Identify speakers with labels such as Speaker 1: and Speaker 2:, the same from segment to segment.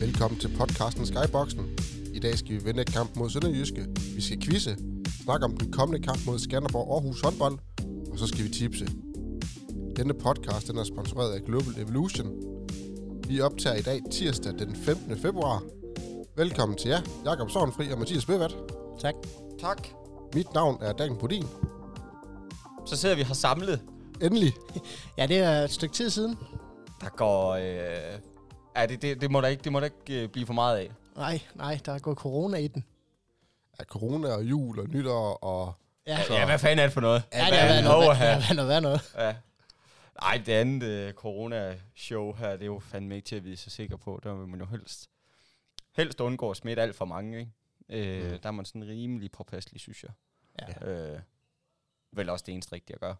Speaker 1: velkommen til podcasten Skyboxen. I dag skal vi vende et kamp mod Sønderjyske. Vi skal quizze, snakke om den kommende kamp mod Skanderborg Aarhus håndbold, og så skal vi tipse. Denne podcast den er sponsoreret af Global Evolution. Vi optager i dag tirsdag den 15. februar. Velkommen til jer, Jakob Sovnfri og Mathias Bøvat.
Speaker 2: Tak.
Speaker 3: Tak.
Speaker 1: Mit navn er Dan Bodin.
Speaker 3: Så sidder vi her samlet.
Speaker 1: Endelig.
Speaker 2: Ja, det er et stykke tid siden.
Speaker 3: Der går... Øh... Ja, det, det, det, må der ikke, det må der ikke øh, blive for meget af.
Speaker 2: Nej, nej, der er gået corona i den.
Speaker 1: Er corona og jul og nytår og...
Speaker 2: Ja,
Speaker 3: Ja, hvad fanden er det for noget?
Speaker 2: ja det har været noget,
Speaker 3: Åh,
Speaker 2: hvad- det har været noget, hvad noget.
Speaker 3: Ja. Nej, det andet øh, corona-show her, det er jo fandme ikke til at vide så sikker på. Der vil man jo helst, helst undgå at smitte alt for mange, ikke? Øh,
Speaker 1: Mm.
Speaker 3: Der er man sådan rimelig påpasselig, synes jeg.
Speaker 2: Ja.
Speaker 3: Øh, vel også det eneste rigtige at gøre.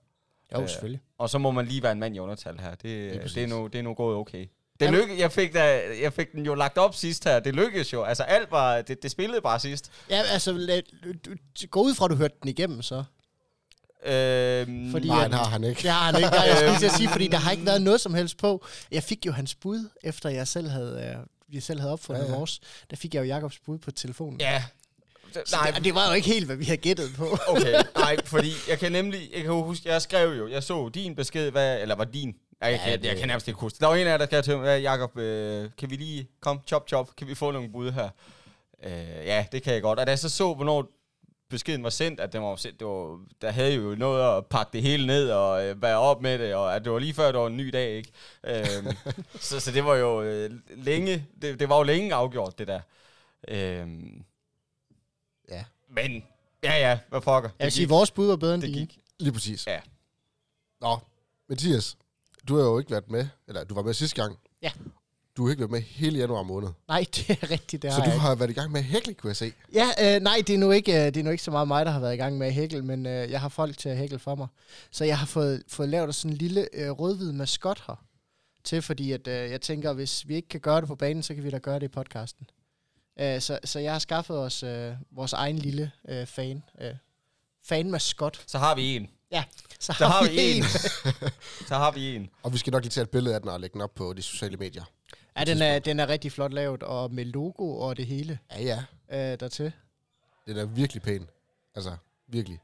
Speaker 2: Jo,
Speaker 3: Øh,
Speaker 2: selvfølgelig.
Speaker 3: Og så må man lige være en mand i undertal her.
Speaker 1: Lige
Speaker 3: Det, det, er,
Speaker 1: præcis.
Speaker 3: nu, det er nu gået okay. Det
Speaker 2: Jamen-
Speaker 3: lykke, jeg, fik da, jeg fik den jo lagt op sidst her. Det lykkedes jo. Altså alt var, det, det spillede bare sidst.
Speaker 2: Ja, altså, lad, du, du- gå ud fra, at du hørte den igennem, så.
Speaker 3: Øhm,
Speaker 2: Fordi-
Speaker 1: Nej,
Speaker 2: at-
Speaker 1: det har han ikke.
Speaker 2: Det har han ikke. Jeg skulle lige til at sige, fordi der har ikke været noget som helst på. Jeg fik jo hans bud, efter jeg selv havde, øh, jeg selv havde opfundet
Speaker 1: Ja,
Speaker 2: ja,
Speaker 1: ja.
Speaker 2: ja. vores. Der fik jeg jo Jakobs bud på telefonen.
Speaker 3: Ja.
Speaker 2: Så
Speaker 3: Nej,
Speaker 2: det, det var jo ikke helt, hvad vi havde gættet på.
Speaker 3: okay. Nej, fordi jeg kan nemlig, jeg kan jo huske, jeg skrev jo, jeg så din besked, hvad, eller var din, jeg, ja, kan, jeg kan nærmest ikke huske det. Der var en af jer, der skrev til mig, "Hvad, Jakob, øh, kan vi lige, kom, chop, chop, kan vi få nogle bud her? Øh, ja, det kan jeg godt. Og da jeg så så, hvornår beskeden var sendt, at den var sendt, det var, der havde jo noget at pakke det hele ned og øh, være op med det, og at det var lige før, det var en ny dag, ikke? Øhm, så, så det var jo øh, længe, det, det var jo længe afgjort, det der. Øhm,
Speaker 1: Ja.
Speaker 3: Men, ja ja, hvad fucker.
Speaker 2: Jeg vil
Speaker 3: Det
Speaker 2: sige,
Speaker 3: gik.
Speaker 2: at vores bud var bedre end
Speaker 3: Det
Speaker 2: din.
Speaker 3: gik.
Speaker 1: Lige præcis.
Speaker 3: Ja.
Speaker 1: Nå, Mathias, du har jo ikke været med, eller du var med sidste gang.
Speaker 2: Ja.
Speaker 1: Du har ikke været med hele januar måned.
Speaker 2: Nej, det er rigtigt, det
Speaker 1: så
Speaker 2: har
Speaker 1: du
Speaker 2: jeg
Speaker 1: har været i gang med at hækle, kunne jeg se.
Speaker 2: Ja, øh, nej, det er, nu ikke, øh, det er nu ikke så meget mig, der har været i gang med at hækle, men øh, jeg har folk til at hækle for mig. Så jeg har fået, fået lavet sådan en lille øh, rødhvid maskot her til, fordi at, øh, jeg tænker, hvis vi ikke kan gøre det på banen, så kan vi da gøre det i podcasten. Øh, så, så jeg har skaffet os øh, vores egen lille øh, fan. Øh, fan-maskot.
Speaker 3: Så har vi en.
Speaker 2: Så
Speaker 3: Så har vi en. så har vi en.
Speaker 1: Og vi skal nok lige tage et billede af den og lægge den op på de sociale medier.
Speaker 2: Ja, den er, den er rigtig flot lavet, og med logo og det hele
Speaker 1: Ja, ja.
Speaker 2: øh, dertil.
Speaker 1: Den er virkelig pæn. Altså, virkelig.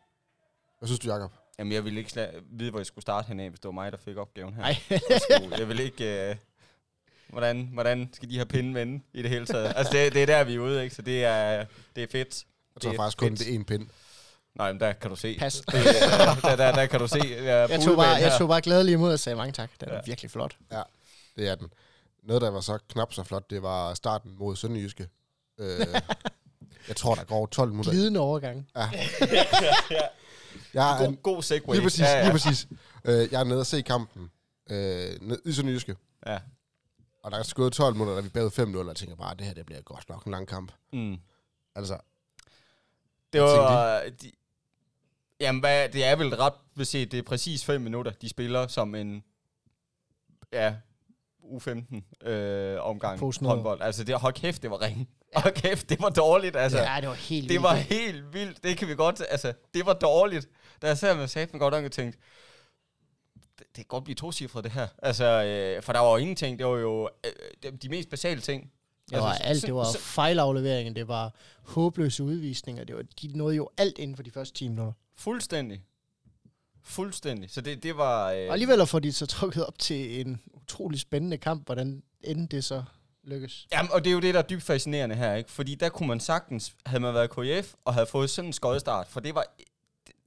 Speaker 1: Hvad synes du, Jacob?
Speaker 3: Jamen, jeg ville ikke sla- vide, hvor jeg skulle starte henne af, hvis det var mig, der fik opgaven her.
Speaker 2: Nej,
Speaker 3: Jeg skulle- jeg ville ikke... Øh, hvordan, hvordan skal de her pinde vende i det hele taget? altså, det, det er der, vi er ude, ikke? Så det er, det er fedt.
Speaker 1: Jeg tror
Speaker 3: Det er
Speaker 1: faktisk kun,
Speaker 3: fedt.
Speaker 1: det er en pind.
Speaker 3: Nej, men der kan du se.
Speaker 2: pas.
Speaker 3: Det, øh, der, der, der kan du se. Jeg,
Speaker 2: Jeg tog, bare, jeg tog bare glædelig imod og sagde mange tak. Den er
Speaker 3: Ja.
Speaker 2: virkelig flot.
Speaker 1: Det er den. Noget, der var så knap så flot, det var starten mod Sønderjyske. Øh, jeg tror, der går over 12 minutter.
Speaker 2: Glidende overgang.
Speaker 1: Jeg er
Speaker 3: God, god segway.
Speaker 1: Lige præcis,
Speaker 3: Ja,
Speaker 1: lige
Speaker 3: ja.
Speaker 1: præcis. Øh, jeg er nede og se kampen øh, ned, i Sønderjyske,
Speaker 3: ja.
Speaker 1: og der er skået 12 minutter, og vi er bagud 5 0 og jeg tænker bare, det her det bliver godt nok en lang kamp.
Speaker 3: Mm.
Speaker 1: Altså,
Speaker 3: Det
Speaker 1: Hvad
Speaker 3: var... øh, De, jamen, hvad, det er vel ret beset, det er præcis 5 minutter, de spiller som en... Ja, U15 øh, omgang
Speaker 2: Posen
Speaker 3: håndbold. Altså, det, hold kæft, det var ringe. Hold kæft, det var dårligt, altså.
Speaker 2: Ja, det var helt
Speaker 3: Det
Speaker 2: vildt.
Speaker 3: var helt vildt. Det kan vi godt... Altså, det var dårligt. Da jeg sad med saten godt nok og tænkte, det, det kan godt blive tocifret, det her. Altså, øh, for der var jo ingenting. Det var jo øh, de- de mest basale ting.
Speaker 2: Det var
Speaker 3: Altså,
Speaker 2: alt,
Speaker 3: så-
Speaker 2: det var
Speaker 3: så-
Speaker 2: fejlafleveringer, det var håbløse udvisninger, det var, de nåede jo alt inden for de første 10 minutter.
Speaker 3: Fuldstændig. Fuldstændig. Så det, det var... Øh,
Speaker 2: Og alligevel at få de så trukket op til en utrolig spændende kamp, hvordan end det så lykkes.
Speaker 3: Jamen, og det er jo det, der er dybt fascinerende her, ikke? Fordi der kunne man sagtens, havde man været KF og havde fået sådan en skodstart, for det var,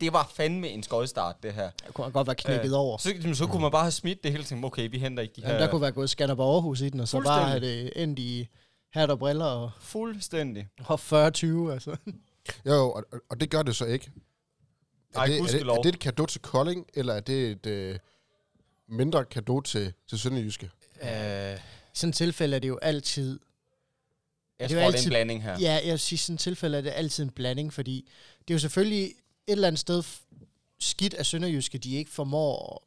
Speaker 3: det var fandme en skodstart, det her.
Speaker 2: Jeg kunne godt være knækket
Speaker 3: Øh,
Speaker 2: over.
Speaker 3: Så, jamen, så kunne man bare have smidt det hele ting. Okay, vi henter ikke de
Speaker 2: Jamen,
Speaker 3: her.
Speaker 2: der kunne være gået Skanderborg Aarhus i den, og så bare have
Speaker 3: Fuldstændig.
Speaker 2: det endt i hat og briller og,
Speaker 3: Fuldstændig.
Speaker 2: og 40-20, altså.
Speaker 1: jo, jo, og, og- og det gør det så ikke. Er
Speaker 3: Ej,
Speaker 1: det, er, det,
Speaker 3: gudskelov.
Speaker 1: er det et kado til Kolding, eller er det et øh, mindre kado til, til Sønderjyske?
Speaker 3: Øh,
Speaker 2: I sådan et tilfælde er det jo altid
Speaker 3: jeg
Speaker 2: Det er
Speaker 3: tror,
Speaker 2: jo
Speaker 3: det er
Speaker 2: altid-
Speaker 3: en blanding her.
Speaker 2: Ja, jeg vil sige, i sådan et tilfælde er det altid en blanding, fordi det er jo selvfølgelig et eller andet sted f- skidt af Sønderjyske, de ikke formår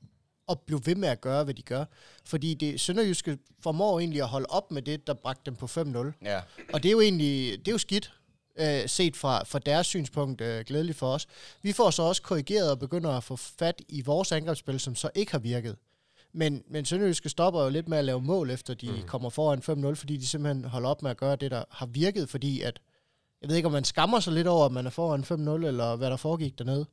Speaker 2: at blive ved med at gøre, hvad de gør. Fordi det, Sønderjyske formår egentlig at holde op med det, der bragte dem på 5-0.
Speaker 3: Ja.
Speaker 2: Og det er jo egentlig det er jo skidt, øh, set fra, fra deres synspunkt øh, glædeligt for os. Vi får så også korrigeret og begynder at få fat i vores angrebsspil, som så ikke har virket. Men, men Sønderjyske stopper jo lidt med at lave mål, efter de mm. kommer foran 5-0, fordi de simpelthen holder op med at gøre det, der har virket, fordi at, jeg ved ikke, om man skammer sig lidt over, at man er foran 5-0, eller hvad der foregik dernede.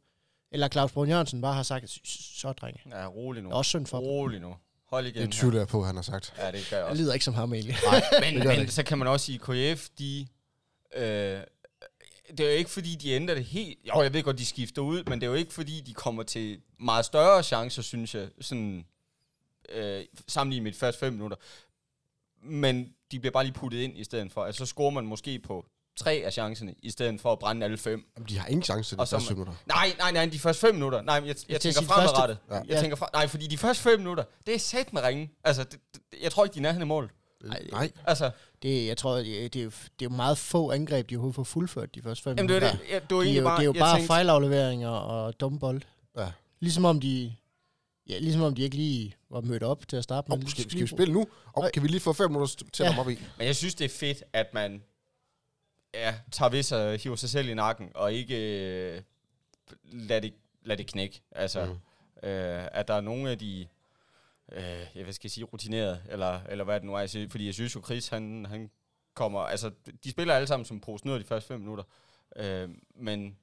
Speaker 2: Eller Claus Brun Jørgensen bare har sagt, så drenge,
Speaker 3: Ja, rolig nu.
Speaker 2: det er også synd for dem.
Speaker 3: Rolig nu. Hold igen.
Speaker 1: Det
Speaker 3: her.
Speaker 1: tvivler jeg på, han har sagt.
Speaker 3: Ja, det gør jeg også.
Speaker 2: Jeg lider ikke som ham egentlig.
Speaker 3: men,
Speaker 1: det gør det
Speaker 3: men
Speaker 1: ikke.
Speaker 3: så kan man også sige, at KF, de... Øh, det er jo ikke, fordi de ændrer det helt... Jo, jeg ved godt, de skifter ud, men det er jo ikke, fordi de kommer til meget større chancer, synes jeg, sådan, øh, sammenlignet med de første fem minutter. Men de bliver bare lige puttet ind i stedet for. Altså, så scorer man måske på tre af chancerne, i stedet for at brænde alle fem.
Speaker 1: Jamen, de har ingen chance til de
Speaker 3: Og så-
Speaker 1: første minutter.
Speaker 3: Nej, nej, nej, de første fem minutter. Nej, men jeg, jeg,
Speaker 2: Jeg
Speaker 3: jeg
Speaker 2: til at
Speaker 3: tænker
Speaker 2: sige, første-
Speaker 3: fremadrettet.
Speaker 1: Ja.
Speaker 3: Jeg
Speaker 2: Ja.
Speaker 3: tænker fra, nej, fordi de første fem minutter, det er sat med ringen. Altså, det, det, jeg tror ikke, de er i nærheden af mål.
Speaker 1: Øh, Nej,
Speaker 3: Altså,
Speaker 2: Det, jeg tror, det, det, er jo, det er jo meget få angreb, de overhovedet får fuldført de første fem
Speaker 3: Jamen, det er
Speaker 2: minutter.
Speaker 3: det. Ja, det var
Speaker 2: De er
Speaker 3: egentlig
Speaker 2: jo,
Speaker 3: bare,
Speaker 2: det er jo
Speaker 3: jeg
Speaker 2: bare
Speaker 3: tænkte,
Speaker 2: fejlafleveringer og dumme bold.
Speaker 1: Ja.
Speaker 2: Ligesom om de, ja, ligesom om de ikke lige var mødt op til at starte
Speaker 1: oh,
Speaker 2: med.
Speaker 1: skal, skal vi spille nu? Og oh, kan vi lige få fem minutter til at
Speaker 2: Ja.
Speaker 1: komme op i?
Speaker 3: Men jeg synes, det er fedt, at man ja, tager ved sig og hiver sig selv i nakken, og ikke øh, lader, det, lader det knække. Altså, mm. øh, at der er nogle af de, øh, jeg hvad skal jeg sige, rutinerede, eller, eller hvad det nu er. jeg siger. Fordi jeg synes jo, Chris, han, han kommer, altså, de spiller alle sammen som prosnøder de første fem minutter. Øh, men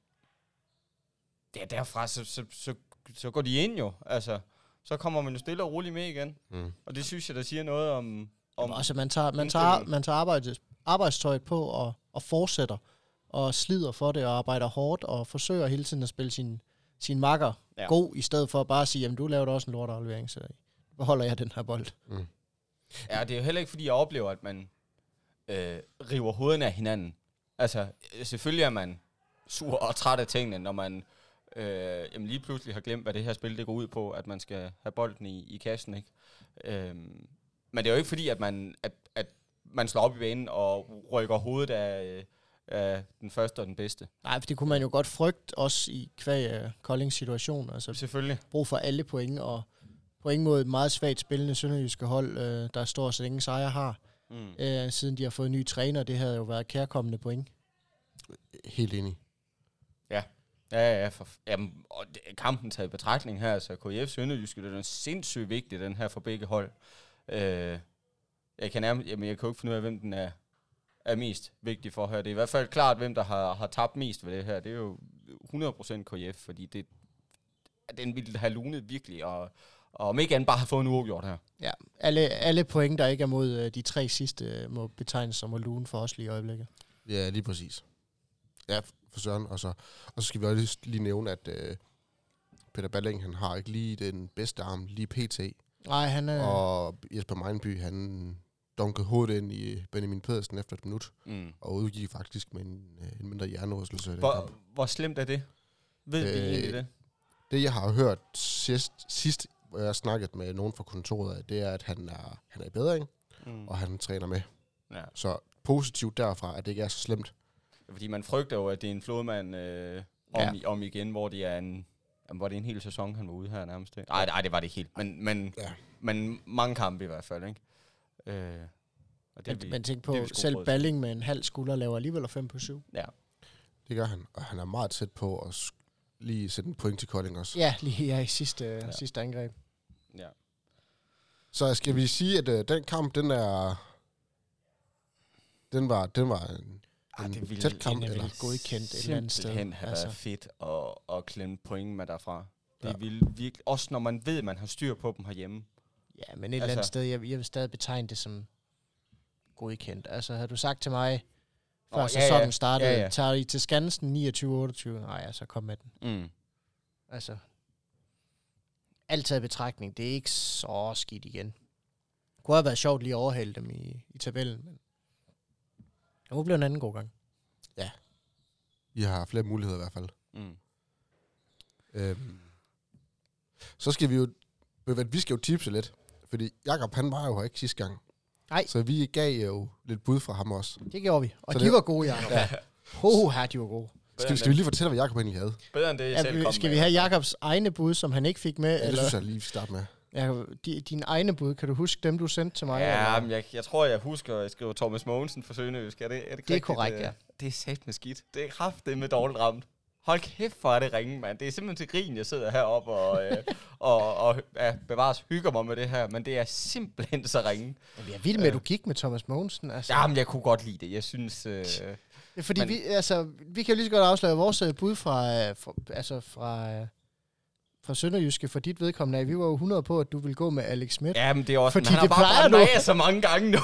Speaker 3: der, derfra, så, så, så, så går de ind jo. Altså, så kommer man jo stille og roligt med igen.
Speaker 1: Mm.
Speaker 3: Og det synes jeg, der siger noget om... om
Speaker 2: Også, at altså, man tager, man tager, man tager arbejdes, arbejdstøjet på og, og fortsætter og slider for det og arbejder hårdt og forsøger hele tiden at spille sin, sin makker
Speaker 3: Ja.
Speaker 2: ja. god, i stedet for bare at sige, jamen du lavede også en lorteaflevering, så beholder jeg den her bold.
Speaker 3: Ja, det er jo heller ikke, fordi jeg oplever, at man øh, river hovederne af hinanden. Altså, øh, selvfølgelig er man sur og træt af tingene, når man øh, jamen lige pludselig har glemt, hvad det her spil det går ud på, at man skal have bolden i, i kassen, ikke? Øhm, men det er jo ikke fordi, at man, at, at man slår op i banen og rykker hovedet af, øh, af den første og den bedste.
Speaker 2: Nej, for det kunne man jo godt frygte, også i kvæg uh, Koldings situation. Altså
Speaker 3: Selvfølgelig.
Speaker 2: brug for alle point, og point mod et meget svagt spillende sønderjyske hold, øh, der står så ingen sejre har,
Speaker 3: Mm.
Speaker 2: øh, siden de har fået en ny træner. Det havde jo været kærkommende point.
Speaker 1: Helt enig.
Speaker 3: Ja, ja, ja, for, jamen, og det- kampen taget i betragtning her, altså, så KF Sønderjyske, det er den sindssygt vigtig, den her for begge hold. Øh, jeg kan nærmest, jamen, jeg kan jo ikke finde ud af, hvem den er, er mest vigtig for her. Det er i hvert fald klart, hvem der har, har tabt mest ved det her. Det er jo 100% KF, fordi det, den ville have lunet virkelig, og, og om ikke andet bare have fået en uafgjort her.
Speaker 2: Ja, alle, alle point, der ikke er mod øh, de tre sidste, øh, må betegnes som at lune for os lige i øjeblikket.
Speaker 1: Ja, lige præcis. Ja, for Søren. Og så, og så skal vi også lige- lige nævne, at øh, Peter Balling, han har ikke lige den bedste arm, lige pt.
Speaker 2: Nej, han er...
Speaker 1: Og Jesper Meinby, han dunkede hovedet ind i Benjamin Pedersen efter et minut,
Speaker 3: Mm.
Speaker 1: og udgik faktisk med en, øh, en mindre hjernerystelse. i den kamp.
Speaker 3: Hvor, hvor slemt er det? Ved øh, vi
Speaker 1: Øh,
Speaker 3: egentlig det?
Speaker 1: Det, jeg har hørt sidst, sidst hvor jeg har snakket med nogen fra kontoret, det er, at han er, han er i bedring,
Speaker 3: Mm.
Speaker 1: og han træner med.
Speaker 3: Ja.
Speaker 1: Så positivt derfra, at det ikke er så slemt.
Speaker 3: Fordi man frygter jo, at det er en flodmand øh, om, ja. om igen, hvor det er en... Jamen, var det en hel sæson, han var ude her nærmest? Nej, nej, det var det ikke helt. Men, men,
Speaker 1: Ja.
Speaker 3: ja. men mange kampe i hvert fald, ikke? Øh, og det er
Speaker 2: at
Speaker 3: vi,
Speaker 2: man tænker
Speaker 3: det er
Speaker 2: på,
Speaker 3: vi sgu
Speaker 2: selv
Speaker 3: råd til.
Speaker 2: Balling med en halv skulder laver alligevel 5 på 7.
Speaker 3: ja.
Speaker 1: Det gør han, og han er meget tæt på at sk- lige sætte en point til Kolding også.
Speaker 2: Ja, lige ja, i sidste, ja. sidste angreb.
Speaker 3: ja.
Speaker 1: Så skal vi sige, at øh, den kamp, den er... Den var, den var en,
Speaker 3: Ej,
Speaker 1: en
Speaker 3: det ville-
Speaker 1: tæt kamp,
Speaker 2: den er
Speaker 1: eller?
Speaker 2: vel godkendt et eller andet sted,
Speaker 3: Simpelthen have
Speaker 2: altså.
Speaker 3: altså. været fedt at, at klemme point med derfra. Det
Speaker 1: Ja.
Speaker 3: ja. ville virkelig... Også når man ved, at man har styr på dem herhjemme.
Speaker 2: Ja, men et altså, eller andet
Speaker 3: Altså-
Speaker 2: sted, jeg, jeg vil stadig betegne det som godkendt. Altså, havde du sagt til mig, før
Speaker 3: Nå,
Speaker 2: oh,
Speaker 3: ja,
Speaker 2: sæsonen
Speaker 3: ja.
Speaker 2: startede,
Speaker 3: Ja, ja.
Speaker 2: tager I til Skansen 29-28? Nej, ja, så kom med den.
Speaker 3: Mm.
Speaker 2: Altså, alt taget i betragtning, det er ikke så skidt igen. Det kunne have været sjovt lige at overhale dem i, i tabellen, men det må blive en anden god gang.
Speaker 1: I har flere muligheder i hvert fald.
Speaker 3: Mm.
Speaker 1: Øhm. Så skal vi jo... ved du hvad, Vi skal jo tipse lidt, fordi Jakob han var jo her ikke sidste gang.
Speaker 2: Nej.
Speaker 1: Så vi gav jo lidt bud fra ham også.
Speaker 2: Det gjorde vi, og
Speaker 1: Så
Speaker 2: så de
Speaker 1: det-
Speaker 2: var gode, Jacob. Ja. Hoha, de var gode.
Speaker 1: Skal, vi- skal vi lige fortælle, hvad Jakob egentlig havde?
Speaker 3: Bedre end det, jeg
Speaker 2: Ja,
Speaker 3: selv kom
Speaker 2: vi- skal vi
Speaker 3: med.
Speaker 2: have Jakobs egne bud, som han ikke fik med?
Speaker 1: Ja, det
Speaker 2: eller?
Speaker 1: synes jeg lige, vi starter med.
Speaker 2: Jacob, di, dine egne bud, kan du huske dem, du sendte til mig?
Speaker 3: Ja,
Speaker 2: eller?
Speaker 3: men jeg, jeg tror, jeg husker, at jeg skrev Thomas Mogensen for Sønderjysk. Er det, er det,
Speaker 2: Det er korrekt, ja.
Speaker 3: Det er sat med skidt. Det er kraft, det med dårligt ramt. Hold kæft, hvor er det ringe, mand. Det er simpelthen til grin, jeg sidder heroppe og, øh, og, og ja, bevares hygger mig med det her, men det er simpelthen så ringe.
Speaker 2: Jamen, jeg er vild med, at du gik med Thomas Mogensen. Altså.
Speaker 3: Jamen, jeg kunne godt lide det. Jeg synes... Øh,
Speaker 2: Det er Fordi
Speaker 3: Men-
Speaker 2: vi, altså, vi kan jo lige så godt afsløre vores øh, bud fra, øh, fra, altså fra, øh, fra Sønderjyske for dit vedkommende. er, Vi var jo 100 på, at du ville gå med Alex Schmidt. Ja.
Speaker 3: Ja, men det er også...
Speaker 2: Fordi
Speaker 3: Fordi han har
Speaker 2: det plejer
Speaker 3: bare brændt
Speaker 2: du.
Speaker 3: mig af så mange gange nu.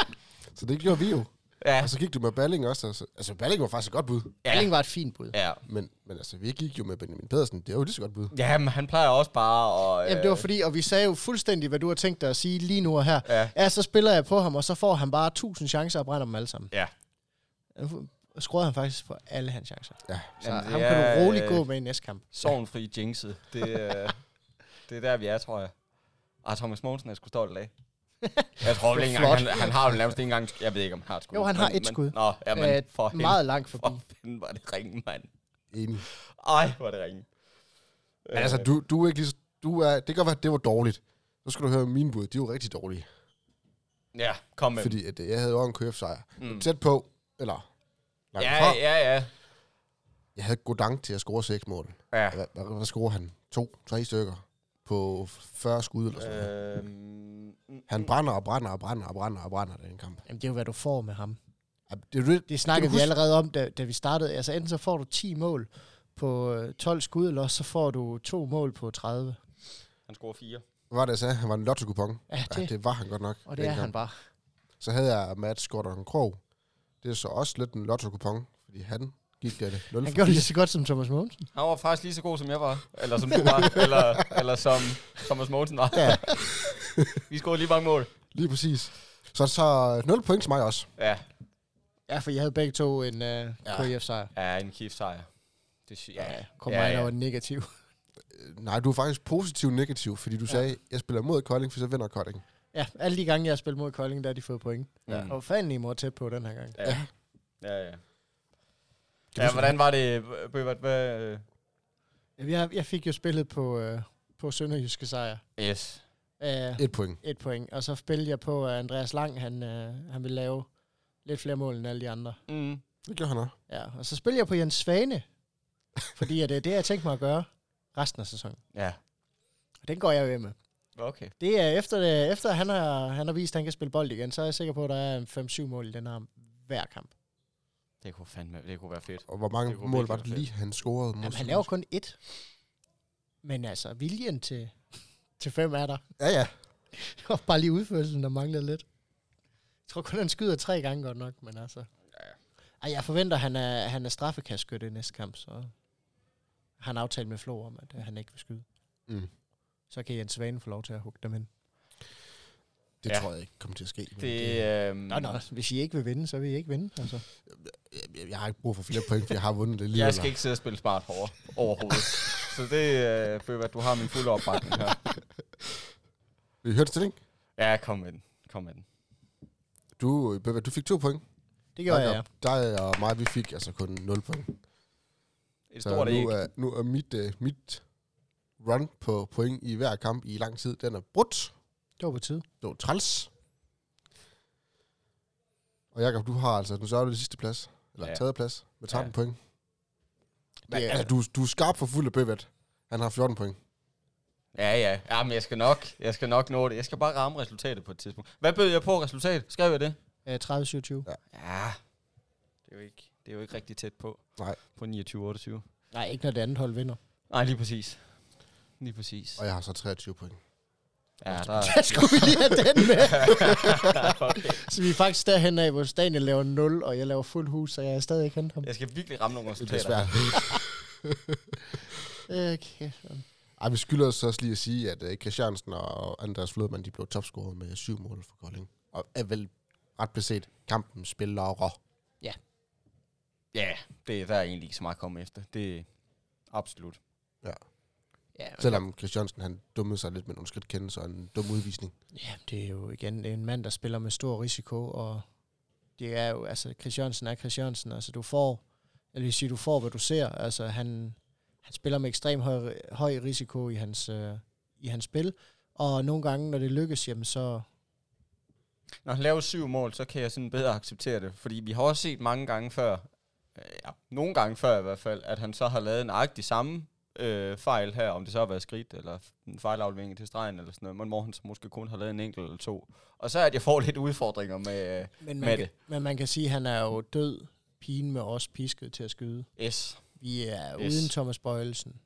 Speaker 1: Så det gjorde vi jo.
Speaker 3: ja.
Speaker 1: Og så gik du med Balling også. Altså, altså Balling var faktisk et godt bud.
Speaker 2: Erling var et fint bud. Ja.
Speaker 3: ja.
Speaker 1: Men, men altså, vi gik jo med Benjamin Pedersen. Det var jo lige så godt bud.
Speaker 3: Ja, men han plejer også bare at... øh,
Speaker 2: Jamen, det var fordi, og vi sagde jo fuldstændig, hvad du har tænkt dig at sige lige nu og her.
Speaker 3: Ja.
Speaker 2: Ja, så spiller jeg på ham, og så får han bare 1000 chancer og brænder dem alle sammen.
Speaker 3: Ja.
Speaker 2: Nu skruede han faktisk på alle hans chancer.
Speaker 1: Ja.
Speaker 2: Så
Speaker 3: Jamen,
Speaker 2: Jamen,
Speaker 3: det
Speaker 2: ham kan
Speaker 3: er,
Speaker 2: du roligt
Speaker 3: øh,
Speaker 2: gå med i næste kamp.
Speaker 3: Sorgenfri jinxet. Det, øh, det er der, vi er, tror jeg. Og Thomas Mogensen er sgu stolt af. Jeg tror vel ikke engang, han,
Speaker 2: Flot.
Speaker 3: han har jo nærmest ikke engang... Jeg ved ikke, om han har et skud.
Speaker 2: Jo, han har
Speaker 3: men-
Speaker 2: et
Speaker 3: men-
Speaker 2: skud.
Speaker 3: Nå, ja, men
Speaker 2: Øh,
Speaker 3: for helvede.
Speaker 2: meget langt forbi.
Speaker 3: For fanden, var det ringe, mand.
Speaker 1: Enig.
Speaker 3: Ej, hvor er det ringe.
Speaker 1: Men altså, du, du er ikke lige så, du er, det kan godt være, at det var dårligt. Så skal du høre mine bud. De er jo rigtig dårlige.
Speaker 3: Ja, kom med.
Speaker 1: Fordi at, øh, jeg havde jo en KF-sejr.
Speaker 3: Mm.
Speaker 1: Mm. Tæt på, eller langt ja,
Speaker 3: Ja,
Speaker 1: fra.
Speaker 3: ja, ja.
Speaker 1: Jeg havde Godang til at score seks mål.
Speaker 3: Ja.
Speaker 1: Hvad, hvad, hvad scorede han? To, tre stykker på 40 skud eller sådan
Speaker 3: Øh.
Speaker 1: noget.
Speaker 3: Øhm, mm,
Speaker 1: Han brænder og brænder og brænder og brænder og brænder den kamp.
Speaker 2: Jamen, det er jo, hvad du får med ham.
Speaker 1: Ja, Det, er jo det,
Speaker 2: Det snakkede
Speaker 1: Kan du huske-
Speaker 2: vi allerede om, da, da vi startede. Altså enten så får du 10 mål på øh, 12 skud, eller også så får du to mål på 30.
Speaker 3: han scorer fire.
Speaker 1: hvad var det, jeg sagde? Han var en lotto kupon
Speaker 2: Ja,
Speaker 1: Ja,
Speaker 2: det,
Speaker 1: det var han godt nok.
Speaker 2: og det er
Speaker 1: dengang.
Speaker 2: han bare.
Speaker 1: Så havde jeg Mads Gordon Krog. Det er så også lidt en lotto kupon fordi han gik der det 0
Speaker 2: Han
Speaker 1: for 4.
Speaker 2: gjorde det lige så godt som Thomas Mogensen.
Speaker 3: Han var faktisk lige så god, som jeg var. Eller som du var. eller, eller som Thomas Mogensen var.
Speaker 1: Ja,
Speaker 3: Vi scorede lige mange mål.
Speaker 1: lige præcis. Så, så 0 point til mig også.
Speaker 3: Ja,
Speaker 2: Ja, for jeg havde begge to en øh, KIF-sejr.
Speaker 3: ja en kæft sejr. Det sy- ja.
Speaker 2: Kom
Speaker 3: Ja,
Speaker 2: mig, der
Speaker 3: ja.
Speaker 2: var negativ.
Speaker 1: Øh, Nej, du er faktisk positiv negativ, fordi du ja. sagde, jeg spiller mod Kolding, for så vinder Kolding.
Speaker 2: Ja, alle de gange, jeg har spillet mod Kolding, der har de fået point.
Speaker 3: Mm.
Speaker 2: Ja. Og fanden, I må tæt på den her gang.
Speaker 3: Ja, ja, ja.
Speaker 1: Kan du
Speaker 3: Ja,
Speaker 1: sådan-
Speaker 3: hvordan var det, øh, Bøbert? Hvad, øh,
Speaker 2: Jamen, Jeg, jeg fik jo spillet på, øh, på Sønderjyske sejr.
Speaker 3: Yes.
Speaker 2: Øh,
Speaker 1: Et point.
Speaker 2: et point. Og så spillede jeg på, at Andreas Lang, han, øh, han ville lave lidt flere mål end alle de andre.
Speaker 3: Mm.
Speaker 1: Det gjorde han også.
Speaker 2: Ja, og så spiller jeg på Jens Svane, fordi at øh, det er det, jeg tænkte mig at gøre resten af sæsonen.
Speaker 3: Ja,
Speaker 2: Og den går jeg jo med.
Speaker 3: okay.
Speaker 2: Det er efter, det, efter han, har, han har vist, at han kan spille bold igen, så er jeg sikker på, at der er en 5-7 mål i den her hver kamp.
Speaker 3: Det kunne fandme, det kunne være fedt.
Speaker 1: Og hvor mange
Speaker 3: Det kunne
Speaker 1: mål
Speaker 3: virkelig
Speaker 1: var
Speaker 3: være
Speaker 1: det
Speaker 3: fedt.
Speaker 1: lige, han scorede? mod
Speaker 2: Jamen, han
Speaker 1: Sønderjysk?
Speaker 2: laver kun ét. Men altså, viljen til, til fem er der.
Speaker 1: Ja, ja.
Speaker 2: Det var bare lige udførelsen, der manglede lidt. Jeg tror kun, han skyder tre gange godt nok, men altså...
Speaker 3: Ja.
Speaker 2: Ej, jeg forventer, at han er, han er straffekastskytte i næste kamp, så har han aftalt med Flo om, at øh, han ikke vil skyde.
Speaker 1: Mm.
Speaker 2: Så kan Jens Svane få lov til at hugge dem ind.
Speaker 1: Det
Speaker 3: Ja.
Speaker 1: tror jeg ikke kommer til at ske. men
Speaker 3: Det, øh,
Speaker 2: Nå, nå, hvis I ikke vil vinde, så vil I ikke vinde. Altså.
Speaker 1: det- jeg, jeg har ikke brug for flere point, for jeg har vundet det lige.
Speaker 3: Jeg skal ikke sidde og spille smart over, overhovedet. Så det, øh, Bøbert, du har min fulde opbakning her.
Speaker 1: Vi hørte stilling.
Speaker 3: Ja, kom med den. Kom med den.
Speaker 1: Du, øh, Bøbbe, du fik to point.
Speaker 2: Det gør jeg, ja.
Speaker 1: Jakob, Dig og mig, vi fik altså kun 0 point.
Speaker 3: Et
Speaker 1: Så
Speaker 3: stort æg.
Speaker 1: nu er, nu er mit, øh, mit run på point i hver kamp i lang tid, den er brudt.
Speaker 2: Det var på tide.
Speaker 1: Det var træls. Og Jakob, du har altså, nu så er du det sidste plads, eller
Speaker 3: Ja.
Speaker 1: ja. tredje plads, med 13
Speaker 3: Ja.
Speaker 1: ja. point. Men,
Speaker 2: Det er-
Speaker 1: altså, du, du er skarp for fuld af bøvet. Han har 14 point.
Speaker 3: Ja, ja. Ja, men jeg skal nok, jeg skal nok nå det. Jeg skal bare ramme resultatet på et tidspunkt. Hvad bød jeg på resultat? Skrev jeg det?
Speaker 2: Øh, 30-27.
Speaker 3: Ja. Det er jo ikke, det er jo ikke rigtig tæt på.
Speaker 1: Nej.
Speaker 3: På 29-28.
Speaker 2: Nej, ikke når det andet hold vinder.
Speaker 3: Nej, lige præcis. Lige præcis.
Speaker 1: Og jeg har så 23 point.
Speaker 3: Ja, der er...
Speaker 2: Der skulle vi lige have den med.
Speaker 3: okay.
Speaker 2: Så vi er faktisk derhen af, hvor Daniel laver 0, og jeg laver fuld hus, så jeg er stadig ikke hentet ham.
Speaker 3: Jeg skal virkelig ramme nogle
Speaker 1: Det er
Speaker 3: resultater.
Speaker 1: svært.
Speaker 2: Okay.
Speaker 1: Ej, vi skylder os også lige at sige, at øh, Christiansen og Andreas Flodman, de blev topscorer med syv mål for Kolding. Og er vel ret beset kampen spiller rå.
Speaker 3: Ja, det, der er egentlig ikke så meget at komme efter. Det er absolut.
Speaker 2: Ja,
Speaker 1: Selvom Christiansen, han dummede sig lidt med nogle skridtkendelser og en dum udvisning.
Speaker 2: ja, det er jo igen det er en mand, der spiller med stor risiko, og det er jo, altså Christiansen er Christiansen, altså du får, eller vil sige, du får, hvad du ser, altså han, han spiller med ekstrem høj, høj risiko i hans, øh, i hans spil, og nogle gange, når det lykkes, jamen så,
Speaker 3: Når han laver syv mål, så kan jeg sådan bedre acceptere det. Fordi vi har også set mange gange før, øh, ja, nogle gange før i hvert fald, at han så har lavet en agtig samme øh, fejl her, om det så har været skridt, eller en fejlaflevering til stregen, eller sådan noget, men hvor han så måske kun har lavet en enkelt eller to. Og så er at jeg får lidt udfordringer med øh,
Speaker 2: Men
Speaker 3: Med
Speaker 2: man, kan, men man kan sige, at han er jo død. Pigen med os pisket til at skyde.
Speaker 3: øh, S.
Speaker 2: Vi er
Speaker 3: Yes.
Speaker 2: yes. uden Thomas Bøjelsen.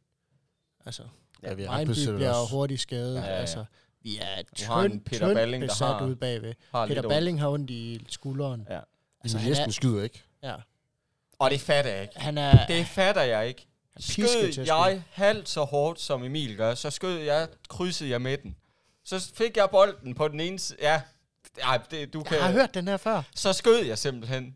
Speaker 2: Altså,
Speaker 1: Ja, vi er ret
Speaker 2: Ejnby
Speaker 1: besiddet
Speaker 2: bliver
Speaker 1: også.
Speaker 2: hurtigt skadet.
Speaker 3: Ja,
Speaker 2: Ja,
Speaker 3: ja,
Speaker 2: ja,
Speaker 3: ja.
Speaker 2: Altså, vi er
Speaker 3: har en
Speaker 2: tynd,
Speaker 3: Peter
Speaker 2: tynd
Speaker 3: Balling, der
Speaker 2: besat
Speaker 3: har-
Speaker 2: ude bagved.
Speaker 3: Har lidt
Speaker 2: Peter
Speaker 3: ondt.
Speaker 2: Balling har ondt i skulderen.
Speaker 3: Ja.
Speaker 2: Altså,
Speaker 1: Emil
Speaker 2: han
Speaker 1: Jesper
Speaker 2: er,
Speaker 1: skyder ikke.
Speaker 2: ja.
Speaker 3: Og det fatter jeg ikke.
Speaker 2: han er,
Speaker 3: Det fatter jeg ikke.
Speaker 2: Han pisker til
Speaker 3: Skød
Speaker 2: at skyde.
Speaker 3: jeg halvt så hårdt, som Emil gør, så skød jeg, krydsede jeg midten. Så fik jeg bolden på den ene side. Ja, ej, det, du kan...
Speaker 2: jeg har hørt den her før.
Speaker 3: Så skød jeg simpelthen. Øhm,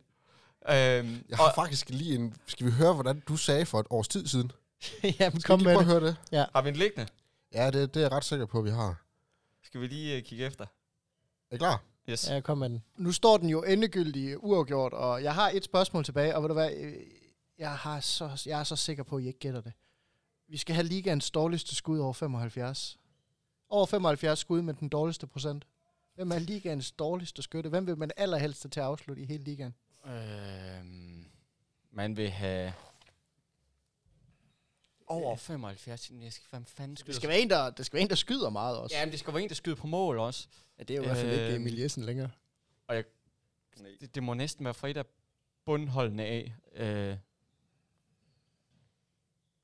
Speaker 1: Jeg
Speaker 3: og,
Speaker 1: har faktisk lige en... Skal vi høre, hvordan du sagde for et års tid siden? Skal
Speaker 2: Jamen,
Speaker 1: vi
Speaker 2: kom
Speaker 1: lige
Speaker 2: med
Speaker 1: prøve
Speaker 2: det.
Speaker 1: at høre det?
Speaker 3: har vi en liggende?
Speaker 1: Ja, det, det er jeg ret sikker på, at vi har.
Speaker 3: Skal vi lige øh, kigge efter?
Speaker 1: Er I klar?
Speaker 3: Yes.
Speaker 2: Ja, kom med den. Nu står den jo endegyldig uafgjort, og jeg har et spørgsmål tilbage, og ved du hvad, øh, jeg, har så, jeg er så sikker på, at I ikke gætter det. Vi skal have ligaens dårligste skud over 75. Over 75 skud med den dårligste procent. Hvem er ligaens dårligste skytte? Hvem vil man allerhelst til at afslutte i hele ligaen?
Speaker 3: Øhm, man vil have... Over 75. Jeg skal, hvad fanden skyder?
Speaker 2: Det skal være en, der, det skal være en, der skyder meget også.
Speaker 3: Ja, men det skal være en, der skyder på mål også.
Speaker 2: Ja, det er jo
Speaker 3: i hvert fald ikke Emil
Speaker 2: Emil Jessen længere.
Speaker 3: Det, det må næsten være Frida bundholdende af. Øh,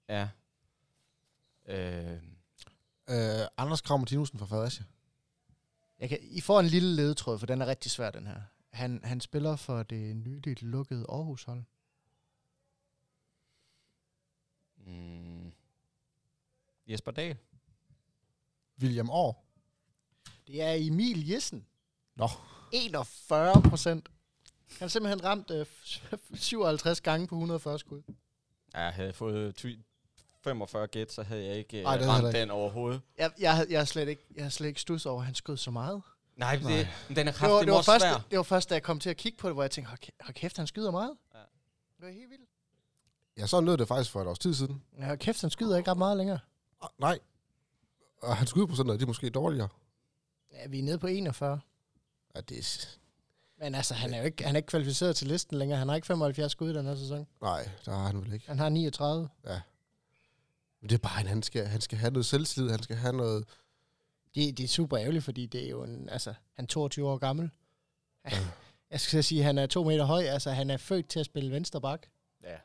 Speaker 3: ja. Øh,
Speaker 1: Øh, Anders Krav Martinussen fra Fredericia.
Speaker 2: Jeg kan, I får en lille ledetråd, for den er rigtig svær, den her. Han, han spiller for det nyligt lukkede Aarhus-hold.
Speaker 3: mm, Jesper Dahl.
Speaker 1: William Aar.
Speaker 2: Det er Emil Jessen.
Speaker 1: Nå.
Speaker 2: 41 procent. Han har simpelthen ramt øh, 57 gange på 140 skud.
Speaker 3: Ja, jeg havde fået ty- 45 gæt, så havde jeg ikke øh,
Speaker 1: Ej, det havde
Speaker 3: ramt
Speaker 1: jeg
Speaker 3: den overhovedet.
Speaker 2: Jeg, jeg, havde- jeg, har slet ikke, jeg har slet ikke stus over, at han skød så meget.
Speaker 3: Nej, det,
Speaker 1: Nej.
Speaker 3: men den er
Speaker 2: Det var,
Speaker 3: kraftig
Speaker 2: det, var
Speaker 3: også
Speaker 2: først,
Speaker 3: svær.
Speaker 2: det var først, da jeg kom til at kigge på det, hvor jeg tænkte, hold kæ- hold kæft, han skyder meget.
Speaker 3: Ja.
Speaker 2: Ja. Det var helt vildt.
Speaker 1: Ja, så lød det faktisk for et års tid siden.
Speaker 2: Ja, hold kæft, han skyder ikke ret meget længere.
Speaker 1: Ah, nej. Og hans skudprocenter, de er måske dårligere.
Speaker 2: Ja, vi er nede på 41.
Speaker 1: Ja, det er... s-
Speaker 2: Men altså, han er jo ikke, han er ikke kvalificeret til listen længere. Han har ikke 75 skud i den her sæson.
Speaker 1: Nej, der har han vel ikke.
Speaker 2: Han har 39.
Speaker 1: Men det er bare, en, han skal, han skal have noget selvtillid, han skal have noget...
Speaker 2: Det, det er super ærgerligt, fordi det er jo en, altså, han er 22 år gammel. Jeg skal så sige, at han er to meter høj. Altså, han er født til at spille venstre bak.
Speaker 3: Ja,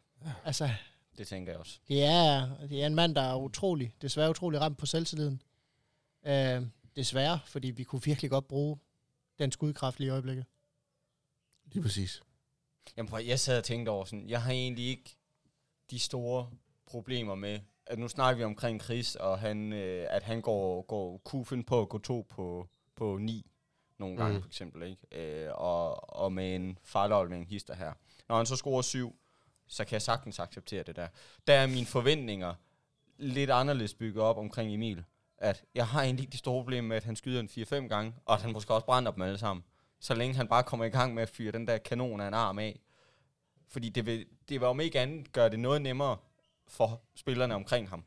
Speaker 2: Altså,
Speaker 3: det tænker jeg også.
Speaker 2: det er, det er en mand, der er utrolig, desværre utrolig ramt på selvtilliden. Øh, desværre, fordi vi kunne virkelig godt bruge den skudkraft lige i øjeblikket.
Speaker 1: Lige præcis.
Speaker 3: Jamen, prøv, at- jeg sad og tænkte over sådan, jeg har egentlig ikke de store problemer med, at nu snakker vi omkring Chris, og han, øh, at han går, går, kunne finde på at gå to på, på ni nogle gange,
Speaker 1: Mm.
Speaker 3: mm. for eksempel, ikke? Øh, og, og med en fejlaflevering hister her. Når han så scorer syv, så kan jeg sagtens acceptere det der. Der er mine forventninger lidt anderledes bygget op omkring Emil, at jeg har egentlig ikke de store problemer med, at han skyder en 4-5 gange, og at han måske også brænder dem alle sammen. Så længe han bare kommer i gang med at fyre den der kanon af en arm af, fordi det vil, det vil om ikke andet gøre det noget nemmere for spillerne omkring ham,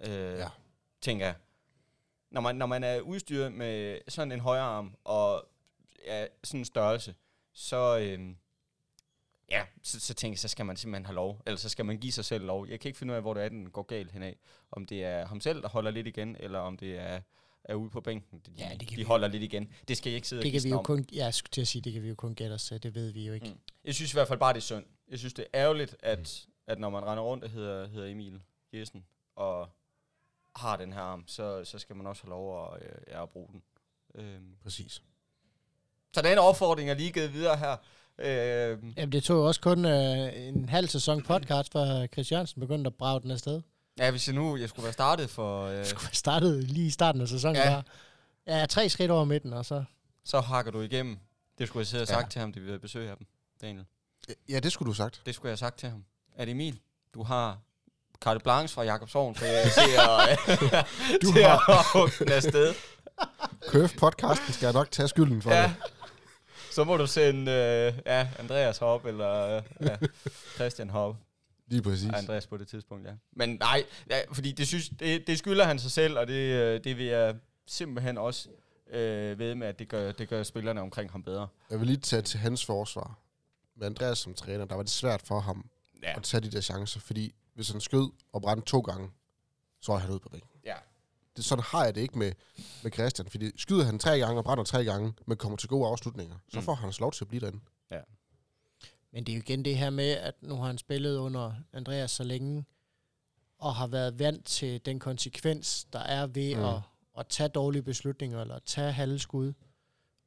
Speaker 3: øh,
Speaker 1: Ja.
Speaker 3: ja. tænker jeg. Når man, når man er udstyret med sådan en højre arm og ja, sådan en størrelse, så, øh, ja, så, så tænker jeg, så skal man simpelthen have lov, eller så skal man give sig selv lov. Jeg kan ikke finde ud af, hvor det er, den går galt henad. Om det er ham selv, der holder lidt igen, eller om det er, er ude på bænken. De,
Speaker 2: Ja, det kan
Speaker 3: de
Speaker 2: vi-
Speaker 3: holder lidt igen. Det skal jeg ikke sidde og
Speaker 2: Det kan vi
Speaker 3: gisne
Speaker 2: jo
Speaker 3: om.
Speaker 2: kun, ja, jeg skulle til at sige, det kan vi jo kun gætte os til. Det ved vi jo ikke.
Speaker 3: Mm. Jeg synes i hvert fald bare, det er synd. Jeg synes, det er ærgerligt, at, at når man render rundt og hedder, hedder Emil Jessen, og har den her arm, så, så skal man også have lov at, øh, ja, at bruge den. Øhm.
Speaker 1: Præcis.
Speaker 3: Så den opfordring er lige givet videre her. Øhm.
Speaker 2: Jamen, det tog jo også kun øh, en halv sæson podcast, før Chris Jørgensen begyndte at brage den afsted.
Speaker 3: Ja, hvis jeg nu jeg skulle være startet for... Øh,
Speaker 2: Det skulle have startet lige i starten af sæsonen.
Speaker 3: Ja.
Speaker 2: Ja. ja, tre skridt over midten, og så
Speaker 3: så hakker du igennem. Det skulle jeg sidde og
Speaker 1: Ja.
Speaker 3: sagt til ham, det vi havde besøg af dem, Daniel.
Speaker 1: Ja, det skulle du have sagt.
Speaker 3: Det skulle jeg have sagt til ham. At Emil, du har carte blanche fra Jakob Sogn, for jeg til at,
Speaker 1: Du
Speaker 3: du til
Speaker 1: har-
Speaker 3: har. at hugge den afsted.
Speaker 1: Køf podcasten skal jeg nok tage skylden for
Speaker 3: Ja.
Speaker 1: det.
Speaker 3: Så må du sende øh, ja, Andreas Hop, eller øh, ja, Christian Hop.
Speaker 1: Lige præcis.
Speaker 3: Ja, Andreas på det tidspunkt, ja. Men nej, ja, fordi det, synes, det, det skylder han sig selv, og det, øh, det vil jeg simpelthen også øh, ved med, at det gør, det gør spillerne omkring ham bedre.
Speaker 1: Jeg vil lige tage til hans forsvar. Med Andreas som træner, der var det svært for ham
Speaker 3: Ja.
Speaker 1: ja. at tage de der chancer, fordi hvis han skød og brændte to gange, så er han ude på bænken.
Speaker 3: Ja.
Speaker 1: Det, sådan har jeg det ikke med, med Christian, fordi skyder han tre gange og brænder tre gange, men kommer til gode afslutninger, så
Speaker 3: Mm.
Speaker 1: får han lov til at blive derinde.
Speaker 2: Men det er jo igen det her med, at nu har han spillet under Andreas så længe, og har været vant til den konsekvens, der er ved
Speaker 1: Mm.
Speaker 2: mm. at, at tage dårlige beslutninger, eller at tage halve skud.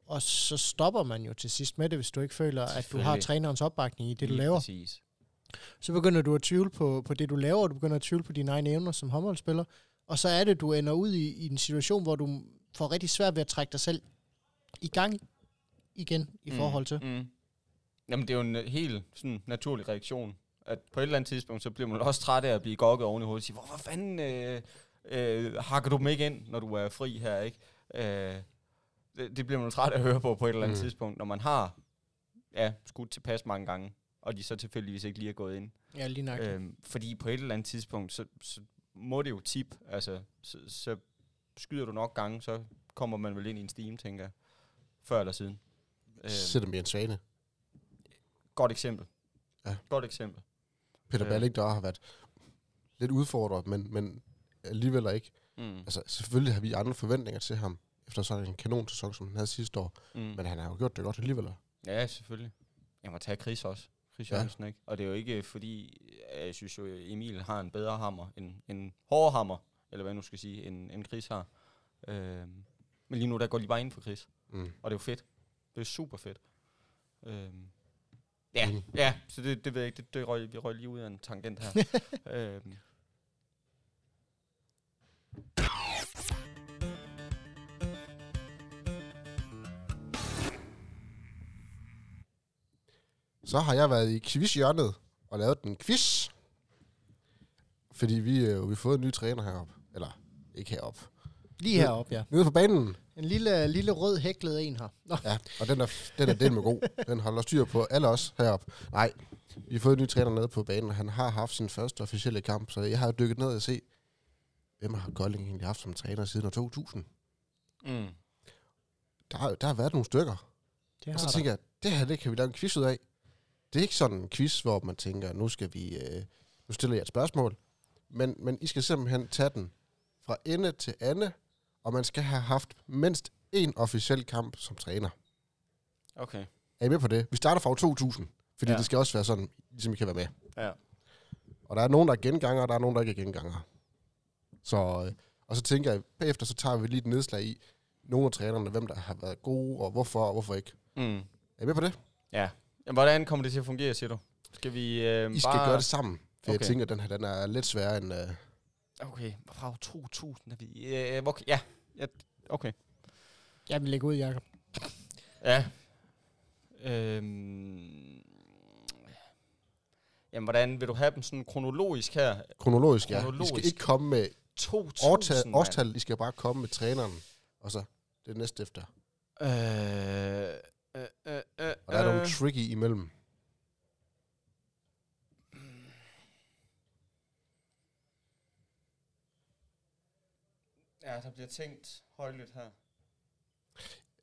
Speaker 2: Og så stopper man jo til sidst med det, hvis du ikke føler, at du har
Speaker 3: Selvfølgelig.
Speaker 2: trænerens opbakning i det, du
Speaker 3: Lige
Speaker 2: laver.
Speaker 3: Præcis.
Speaker 2: Så begynder du at tvivle på, på det, du laver, og du begynder at tvivle på dine egne evner som håndboldspiller. Og så er det, du ender ud i, i en situation, hvor du får rigtig svært ved at trække dig selv i gang igen i mm. forhold til.
Speaker 3: Mm. Jamen, det er jo en øh, helt sådan, naturlig reaktion. At på et eller andet tidspunkt, så bliver man også træt af at blive gokket oven i hovedet og sige, hvorfor fanden øh, øh, hakker du dem ikke ind, når du er fri her, ikke? Øh, det, det bliver man træt af at høre på på et eller andet
Speaker 1: Mm.
Speaker 3: mm. tidspunkt, når man har ja, skudt tilpas mange gange, og de så tilfældigvis ikke lige er gået ind.
Speaker 2: Ja, lige nok.
Speaker 1: Øh,
Speaker 3: Øhm, fordi på et eller andet tidspunkt, så, så må det jo tip. Altså, så, så skyder du nok gange, så kommer man vel ind i en stime, tænker jeg. Før eller siden.
Speaker 1: Øh.
Speaker 3: Øhm,
Speaker 1: Sætter mig en svane.
Speaker 3: godt eksempel.
Speaker 1: Ja.
Speaker 3: Godt eksempel.
Speaker 1: Peter
Speaker 3: Ja.
Speaker 1: øh. Balling, der har været lidt udfordret, men, men alligevel ikke.
Speaker 3: Mm.
Speaker 1: Altså, selvfølgelig har vi andre forventninger til ham, efter sådan en kanon sæson, som han havde sidste år.
Speaker 3: Mm.
Speaker 1: Men han har jo gjort det godt alligevel.
Speaker 3: Ja, selvfølgelig. Jeg må tage Chris også. Chris
Speaker 1: Ja.
Speaker 3: Jørgensen, ikke? Og det er jo ikke fordi, øh, jeg synes jo, Emil har en bedre hammer, en, en hårdere hammer, eller hvad jeg nu skal sige, end, end Chris har. Øhm, men lige nu, der går de bare ind for Chris.
Speaker 1: Mm.
Speaker 3: Og det er jo fedt. Det er super fedt. Øhm. Ja,
Speaker 1: Enig.
Speaker 3: ja, så det, det ved jeg ikke. Det, det røg, vi røg lige ud af en tangent her. øhm.
Speaker 1: Så har jeg været i quizhjørnet og lavet en quiz. Fordi vi, øh, vi har fået en ny træner heroppe. Eller ikke heroppe.
Speaker 2: Lige heroppe, ja.
Speaker 1: Nede på banen.
Speaker 2: En lille, lille rød hæklet en her. Nå,
Speaker 1: Ja, og den er, den er del med god. Den holder styr på alle os heroppe. Nej, vi har fået en ny træner nede på banen, og han har haft sin første officielle kamp. Så jeg har jo dykket ned og se, hvem har Kolding egentlig haft som træner siden år 2000?
Speaker 3: Mm.
Speaker 1: Der, har- der har været nogle stykker.
Speaker 2: det
Speaker 1: Og
Speaker 2: har
Speaker 1: så
Speaker 2: der.
Speaker 1: tænker jeg, det her det kan vi lave en quiz ud af. Det er ikke sådan en quiz, hvor man tænker, nu skal vi øh, nu stiller jeg et spørgsmål. Men, men I skal simpelthen tage den fra ende til ende, og man skal have haft mindst én officiel kamp som træner.
Speaker 3: Okay.
Speaker 1: Er I med på det? Vi starter fra år 2000, fordi ja.
Speaker 3: Ja.
Speaker 1: det skal også være sådan, ligesom I kan være med.
Speaker 3: Ja.
Speaker 1: Og der er nogen, der er gengangere, og der er nogen, der ikke er gengangere. Så, øh, og så tænker jeg, bagefter så tager vi lige et nedslag i nogle af trænerne, hvem der har været gode, og hvorfor, og hvorfor ikke.
Speaker 3: Mm.
Speaker 1: Er I med på det?
Speaker 3: Jamen, hvordan kommer det til at fungere, siger du? Skal vi øh,
Speaker 1: I skal
Speaker 3: bare...
Speaker 1: gøre det sammen. For okay. jeg
Speaker 3: Okay.
Speaker 1: tænker, at den her den er lidt sværere end... Øh,
Speaker 3: Okay, fra år 2000 er vi... Øh, hvor, ja. ja, okay.
Speaker 2: Jeg vil lægge ud, Jacob.
Speaker 3: Ja. Øhm. Jamen, hvordan vil du have dem sådan kronologisk her?
Speaker 1: kronologisk, ja. I skal
Speaker 3: Kronologisk.
Speaker 1: ikke komme med
Speaker 3: 2000,
Speaker 1: årtal,
Speaker 3: mand.
Speaker 1: årstal, I skal bare komme med træneren. Og så det næste efter.
Speaker 3: Øh, øh, øh, øh,
Speaker 1: Og der er nogle
Speaker 3: øh.
Speaker 1: tricky imellem.
Speaker 3: Ja, der bliver tænkt højlydt her.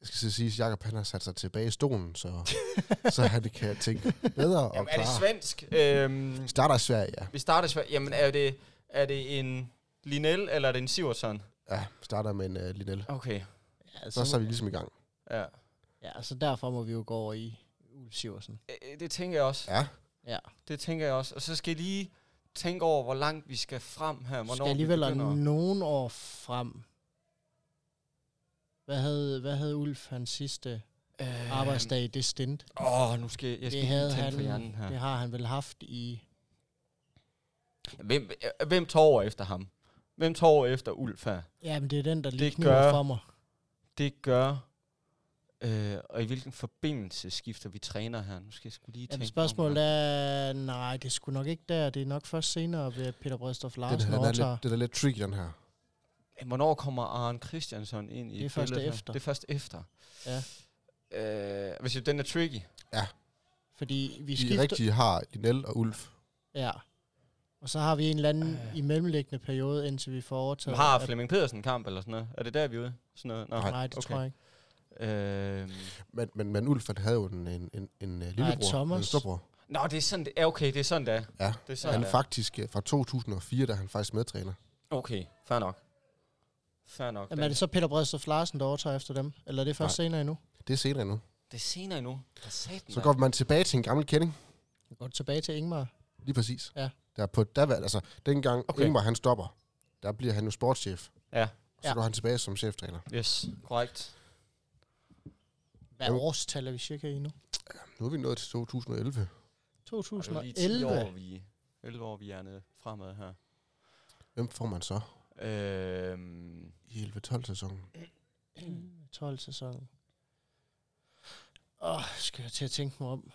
Speaker 1: Jeg skal så sige, at Jacob han har sat sig tilbage i stolen, så, så han kan tænke bedre og
Speaker 3: Jamen, er det
Speaker 1: klare.
Speaker 3: svensk? Øhm,
Speaker 1: Vi starter i Sverige, ja.
Speaker 3: vi starter svensk. Jamen, er det, er det en Linell, eller er det en Sivertson?
Speaker 1: Ja, starter med en uh, Linell.
Speaker 3: Okay, Øh,
Speaker 2: Ja,
Speaker 1: Så, så er vi ligesom i gang.
Speaker 3: ja.
Speaker 2: ja, så derfor må vi jo gå over i Ulf Siversen.
Speaker 3: Øh, Det tænker jeg også.
Speaker 1: Ja,
Speaker 2: Ja,
Speaker 3: Det tænker jeg også. Og så skal jeg lige tænke over, hvor langt vi skal frem her.
Speaker 2: Hvornår
Speaker 3: Hvornår
Speaker 2: skal alligevel
Speaker 3: vi begynder.
Speaker 2: nogle år frem. Hvad havde, hvad havde Ulf hans sidste
Speaker 3: Øhm,
Speaker 2: Øh, arbejdsdag i det stint?
Speaker 3: Åh, oh, nu skal jeg, jeg skal
Speaker 2: Det, havde
Speaker 3: lige tænke
Speaker 2: han,
Speaker 3: for hjernen her.
Speaker 2: det har han vel haft i...
Speaker 3: Hvem, øh, hvem tog over efter ham? Hvem tog over efter Ulf her?
Speaker 2: Ja, men det er den, der lige
Speaker 3: Det
Speaker 2: kniver
Speaker 3: gør-
Speaker 2: for mig.
Speaker 3: Det gør... Øh, og i hvilken forbindelse skifter vi træner her? Nu skal jeg skulle lige tænke...
Speaker 2: Jamen,
Speaker 3: mig
Speaker 2: spørgsmålet
Speaker 3: om.
Speaker 2: er... Nej, det skulle nok ikke der. Det er nok først senere, ved at Peter Brødstof
Speaker 1: den, her,
Speaker 2: Larsen
Speaker 1: den, er
Speaker 2: overtager.
Speaker 1: lidt, den er lidt tricky, den her.
Speaker 3: Men Hvornår kommer Arne Christiansen ind i
Speaker 2: Det er
Speaker 3: billedet
Speaker 2: først
Speaker 3: her?
Speaker 2: efter.
Speaker 3: Det er først efter.
Speaker 2: Ja.
Speaker 3: Øh, hvis jeg, den er tricky.
Speaker 2: Fordi vi
Speaker 1: I
Speaker 2: skifter...
Speaker 1: rigtige har Linell og Ulf.
Speaker 2: Ja. Og så har vi en eller anden øh. i mellemliggende periode, indtil vi får
Speaker 3: Så
Speaker 2: overtaget.
Speaker 3: har
Speaker 2: at-
Speaker 3: Flemming Pedersen kamp eller sådan noget? Er det der, vi er ude? Sådan noget? Nå.
Speaker 2: Nej, det okay. tror jeg ikke.
Speaker 3: Øh,
Speaker 1: Men, men, men Ulf han havde jo en, en, en, en øh, lillebror.
Speaker 2: Thomas.
Speaker 1: En storbror.
Speaker 3: Nå, det er sådan, det er okay, det er sådan, det er.
Speaker 1: Ja.
Speaker 3: Det er sådan,
Speaker 1: Han
Speaker 3: det
Speaker 1: er
Speaker 3: er.
Speaker 1: faktisk øh, fra 2004, da han faktisk medtræner.
Speaker 3: Okay, fair nok. Fair nok.
Speaker 2: Jamen, er det så Peter Bredstof Larsen, der overtager efter dem? Eller er det først senere endnu?
Speaker 1: Det er senere nu.
Speaker 3: det er senere endnu. For satan,
Speaker 1: Så
Speaker 3: mand.
Speaker 1: går man tilbage til en gammel kending.
Speaker 2: Vi går tilbage til Ingmar.
Speaker 1: Lige præcis.
Speaker 2: Ja.
Speaker 1: Der på, der, var- altså, dengang
Speaker 3: Okay.
Speaker 1: okay. Ingmar han stopper, der bliver han jo sportschef.
Speaker 3: Ja.
Speaker 1: Og så
Speaker 2: Ja.
Speaker 1: ja. går han tilbage som cheftræner.
Speaker 3: Yes, korrekt.
Speaker 2: Hvad
Speaker 1: Jo.
Speaker 2: årstal er vi cirka i nu?
Speaker 1: Nu er vi nået til 2011.
Speaker 3: Og det er jo lige 10 År,
Speaker 2: 2011.
Speaker 3: vi, 11 år, vi er nede fremad her.
Speaker 1: Hvem får man så
Speaker 3: Øhm,
Speaker 1: i 11-12 sæsonen?
Speaker 2: 12 sæson. Åh, skal jeg til at tænke mig om.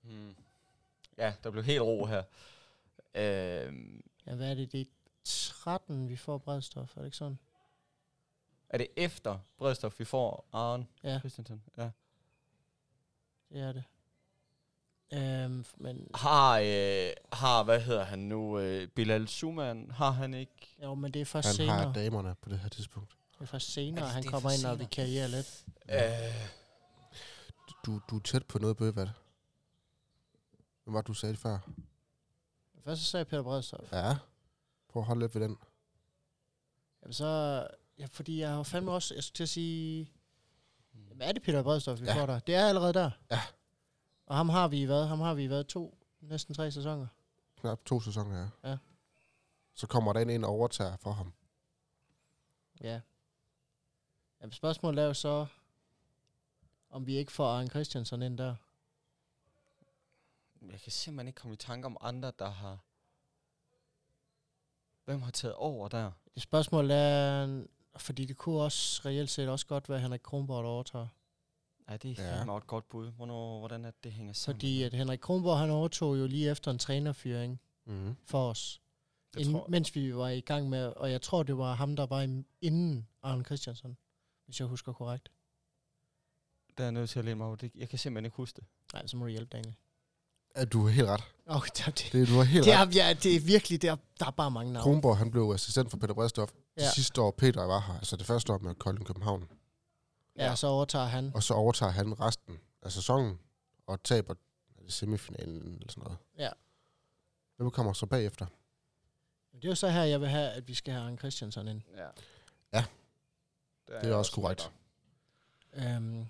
Speaker 3: hmm. Ja, der blev helt ro her. Øhm,
Speaker 2: Ja, hvad er det? Det er 13, vi får Bredstof, er det ikke sådan?
Speaker 3: er det efter Bredstof, vi får Arne
Speaker 2: Ja.
Speaker 3: Christensen? Ja.
Speaker 2: Det er det. Øhm, men,
Speaker 3: Har, øh, har, hvad hedder han nu, øh, Bilal Suman, har han ikke?
Speaker 2: jo, men det er først
Speaker 1: Han
Speaker 2: senere.
Speaker 1: har damerne på det Altså, her tidspunkt.
Speaker 2: Det er først senere,
Speaker 3: Er det-
Speaker 2: han
Speaker 3: det er
Speaker 2: kommer
Speaker 3: først
Speaker 2: ind og
Speaker 3: senere?
Speaker 2: vikarierer lidt.
Speaker 3: Øh,
Speaker 1: Du, du er tæt på noget bøgevat. Hvad var det, du sagde før?
Speaker 2: Først så sagde jeg Peter Bredstof.
Speaker 1: Ja. Prøv at holde lidt ved den.
Speaker 2: Jamen så, ja, fordi jeg har jo fandme også, jeg skulle til at sige, jamen er det Peter Bredstof, vi ja.
Speaker 1: Hmm. Ja.
Speaker 2: får der? Det er allerede der.
Speaker 1: Ja.
Speaker 2: Og ham har vi i hvad? Ham har vi i hvad? To, næsten tre sæsoner.
Speaker 1: Knap to sæsoner, ja.
Speaker 2: Ja.
Speaker 1: Så kommer der en ind og overtager for ham.
Speaker 2: Ja. Jamen spørgsmålet er jo så, om vi ikke får Arne Christiansen ind der.
Speaker 3: jeg kan simpelthen ikke komme i tanke om andre, der har... Hvem har taget over der?
Speaker 2: Det spørgsmål er, fordi det kunne også reelt set også godt være, at Henrik Kronborg der overtager.
Speaker 3: Ja, det er
Speaker 1: Ja.
Speaker 3: fandme et godt bud. Hvornår, hvordan er det, det hænger sammen?
Speaker 2: Fordi at Henrik Kronborg han overtog jo lige efter en trænerfyring
Speaker 1: Mm.
Speaker 2: for os.
Speaker 3: Jeg
Speaker 2: inden,
Speaker 3: tror-
Speaker 2: mens vi var i gang med, og jeg tror, det var ham, der var im- inden Arne Christiansen, hvis jeg husker korrekt.
Speaker 3: Der er jeg nødt til at læne mig over. Det, jeg kan simpelthen ikke huske det.
Speaker 2: Nej, så må du hjælpe, Daniel.
Speaker 1: Ja, du har helt ret.
Speaker 2: Okay, det, det,
Speaker 1: Det, du har helt
Speaker 2: det,
Speaker 1: ret.
Speaker 2: er, ja, det er virkelig, der, der er bare mange navne.
Speaker 1: Kronborg, han blev assistent for Peter Bredstof ja. Mm.
Speaker 2: Ja.
Speaker 1: det sidste år, Peter var her. Altså det første år med Kolding København.
Speaker 2: Ja, og så overtager han.
Speaker 1: Og så overtager han resten af sæsonen og taber er det semifinalen eller sådan noget.
Speaker 2: Ja.
Speaker 1: Hvem kommer så bagefter?
Speaker 2: Det er jo så her, jeg vil have, at vi skal have Arne Christiansen ind.
Speaker 3: Ja.
Speaker 1: Ja.
Speaker 3: Det
Speaker 1: er jeg også også korrekt. med
Speaker 2: Øhm,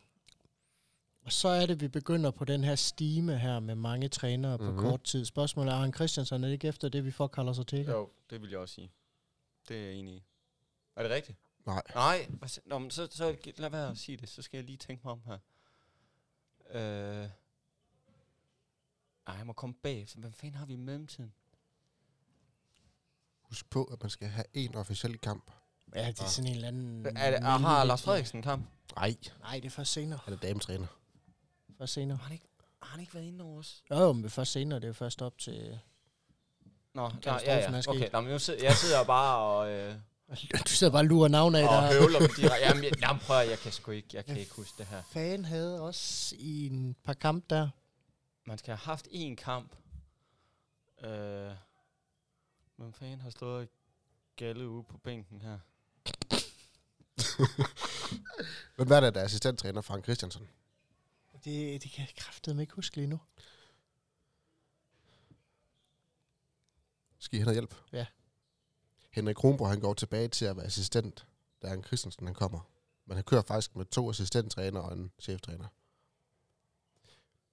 Speaker 2: og så er det, vi begynder på den her stime her med mange trænere på
Speaker 1: Mhm.
Speaker 2: kort tid. Spørgsmålet er, Arne Christiansen er det ikke efter det, vi får Carlos Ortega?
Speaker 3: Jo, det vil jeg også sige. Det er jeg enig i. Er det rigtigt?
Speaker 1: Nej.
Speaker 3: Nej, hvad s- Nå, men så, så gi- lad være at sige det. Så skal jeg lige tænke mig om her. Øh. Ej, jeg må komme bag. Så hvem fanden har vi i mellemtiden?
Speaker 1: Husk på, at man skal have en officiel kamp.
Speaker 2: Ja, det er sådan en eller anden...
Speaker 3: Ah. Er det, ah, har Lars Frederiksen kamp?
Speaker 1: Nej,
Speaker 2: Nej, det er først senere.
Speaker 1: han er dametræner.
Speaker 2: Først senere.
Speaker 3: Har han ikke, har han ikke været inde over os?
Speaker 2: Jo, jo, men først senere. Det er først op til...
Speaker 3: Nå, nej, ja,
Speaker 2: Katastrofen er
Speaker 3: ja.
Speaker 2: sket.
Speaker 3: Okay, nå, men jeg sidder, jeg sidder bare og... Øh,
Speaker 2: Du sidder bare og lurer navn af,
Speaker 3: og
Speaker 2: der...
Speaker 3: høvler dem direkte. Jamen, jeg, jamen, prøv at, jeg kan sgu ikke, jeg kan ikke huske det her.
Speaker 2: Fan havde også i en par kamp der.
Speaker 3: Man skal have haft én kamp. Øh, hvem fanden har stået og galle ude på bænken her?
Speaker 1: Hvem er det, der er assistenttræner? Frank Christiansen.
Speaker 2: Det, det kan jeg kraftedeme ikke huske lige nu.
Speaker 1: Skal I have noget hjælp?
Speaker 2: Ja.
Speaker 1: Henrik Kronborg, han går tilbage til at være assistent, da Arne Christensen han kommer. Men han kører faktisk med to assistenttræner og en cheftræner.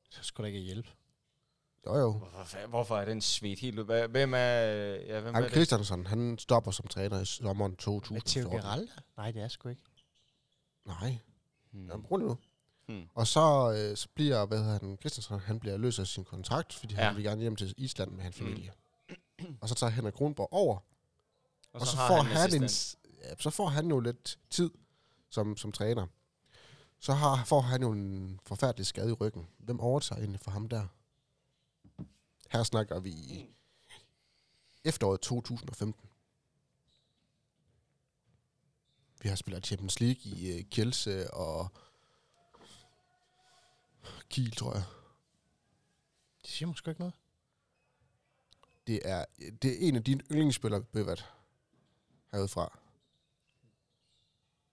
Speaker 2: Så skulle da ikke hjælpe.
Speaker 1: Jo jo.
Speaker 3: Hvorfor, fa- hvorfor er den svedt helt ud? Hva- Hvem er, øh, ja, hvem er
Speaker 1: Arne
Speaker 3: det?
Speaker 1: Christensen, han stopper som træner i sommeren
Speaker 2: Matteo
Speaker 1: 2014.
Speaker 2: Geralda? Nej, det er sgu ikke.
Speaker 1: Nej,
Speaker 3: Hmm.
Speaker 1: Jamen, rolig nu.
Speaker 3: Hmm.
Speaker 1: Og så, øh, så bliver, hvad hedder han, Christensen, han bliver løs af sin kontrakt, fordi ja.
Speaker 3: Ja.
Speaker 1: han
Speaker 3: Mm.
Speaker 1: vil gerne hjem til Island med hans familie. Og så tager Henrik Kronborg over, og, og så, så
Speaker 3: har
Speaker 1: får
Speaker 3: en
Speaker 1: han, en,
Speaker 3: assistent.
Speaker 1: ja, så får han jo lidt tid som, som træner. Så har, får han jo en forfærdelig skade i ryggen. Hvem overtager egentlig for ham der? Her snakker vi i efteråret 2015. Vi har spillet Champions League i øh, Kielse og Kiel, tror jeg.
Speaker 2: Det siger måske ikke noget.
Speaker 1: Det er, det er en af dine yndlingsspillere, Bøvat, herudefra.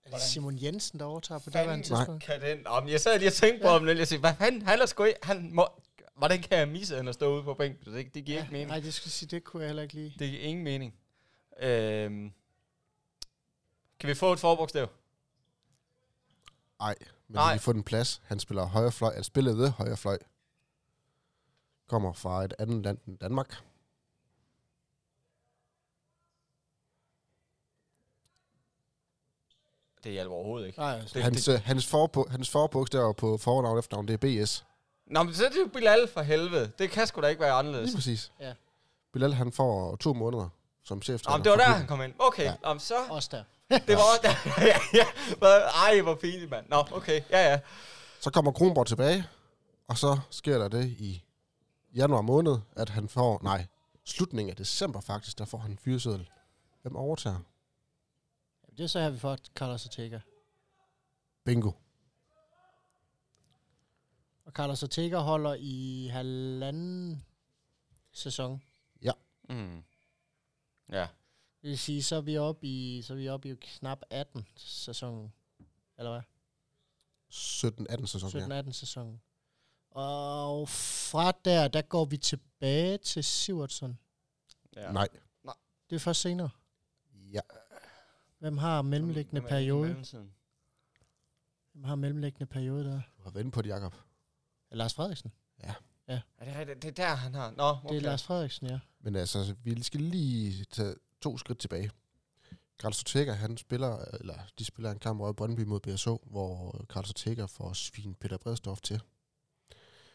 Speaker 3: Hvordan
Speaker 2: Simon Jensen, der overtager på det her
Speaker 3: fanden
Speaker 2: tidspunkt.
Speaker 3: kan den? Om, jeg sad lige og tænkte på ham lidt, jeg sagde, hvad fanden, han er sgu ikke, han må, hvordan kan jeg misse, at han har stået ude på bænken? Det, det giver ikke mening.
Speaker 2: Nej, det skulle jeg sige, det kunne jeg heller ikke lide.
Speaker 3: Det giver ingen mening. Øhm, kan vi få et forbogstav?
Speaker 1: Nej, men
Speaker 3: Nej.
Speaker 1: Nej. vi får den plads. Han spiller højre fløj. Han spiller ved højre fløj. Kommer fra et andet land end Danmark.
Speaker 3: Det hjælper overhovedet ikke.
Speaker 2: Nej, altså.
Speaker 3: Det, det,
Speaker 1: Hans, øh, hans, forbo, hans forbogstaver på fornavn og efternavn, det er BS.
Speaker 3: Nå, men så er det jo Bilal for helvede. Det kan sgu da ikke være anderledes.
Speaker 1: Lige præcis.
Speaker 2: Ja.
Speaker 1: Bilal, han får to måneder som chef.
Speaker 3: Nå, men det var der, han kom ind. Okay, ja. nå, men så...
Speaker 2: Også der.
Speaker 3: Det var også der. ja, ja. Hvad? Ej, hvor pinligt, mand. Nå, okay. Ja, ja.
Speaker 1: Så kommer Kronborg tilbage, og så sker der det i januar måned, at han får, nej, slutningen af december faktisk, der får han en fyreseddel. Hvem overtager?
Speaker 2: Det er så her, vi får Carlos Ortega.
Speaker 1: Bingo.
Speaker 2: Og Carlos Ortega holder i halvanden sæson.
Speaker 3: Mm. Ja.
Speaker 2: Det vil sige, så er vi oppe i, så er vi oppe i knap 18 sæsonen. Eller hvad?
Speaker 1: 17-18 sæson, ja.
Speaker 2: 17-18 sæsonen. Og fra der, der går vi tilbage til Sivertsen.
Speaker 3: ja.
Speaker 1: Nej.
Speaker 2: Det er først senere.
Speaker 1: Ja.
Speaker 2: Hvem har mellemliggende periode?
Speaker 3: Det
Speaker 2: Hvem har mellemliggende periode der?
Speaker 1: Du har vendt på det, Jacob.
Speaker 2: Er Lars Frederiksen?
Speaker 3: er det rigtigt? Det er der, han har. Nå, okay.
Speaker 2: Det er Lars Frederiksen, ja.
Speaker 1: Men altså, vi skal lige tage to skridt tilbage. Carlos Ortega, han spiller, eller de spiller en kamp over i Brøndby mod BSO, hvor Carlos Ortega får svin Peter Bredstorff til.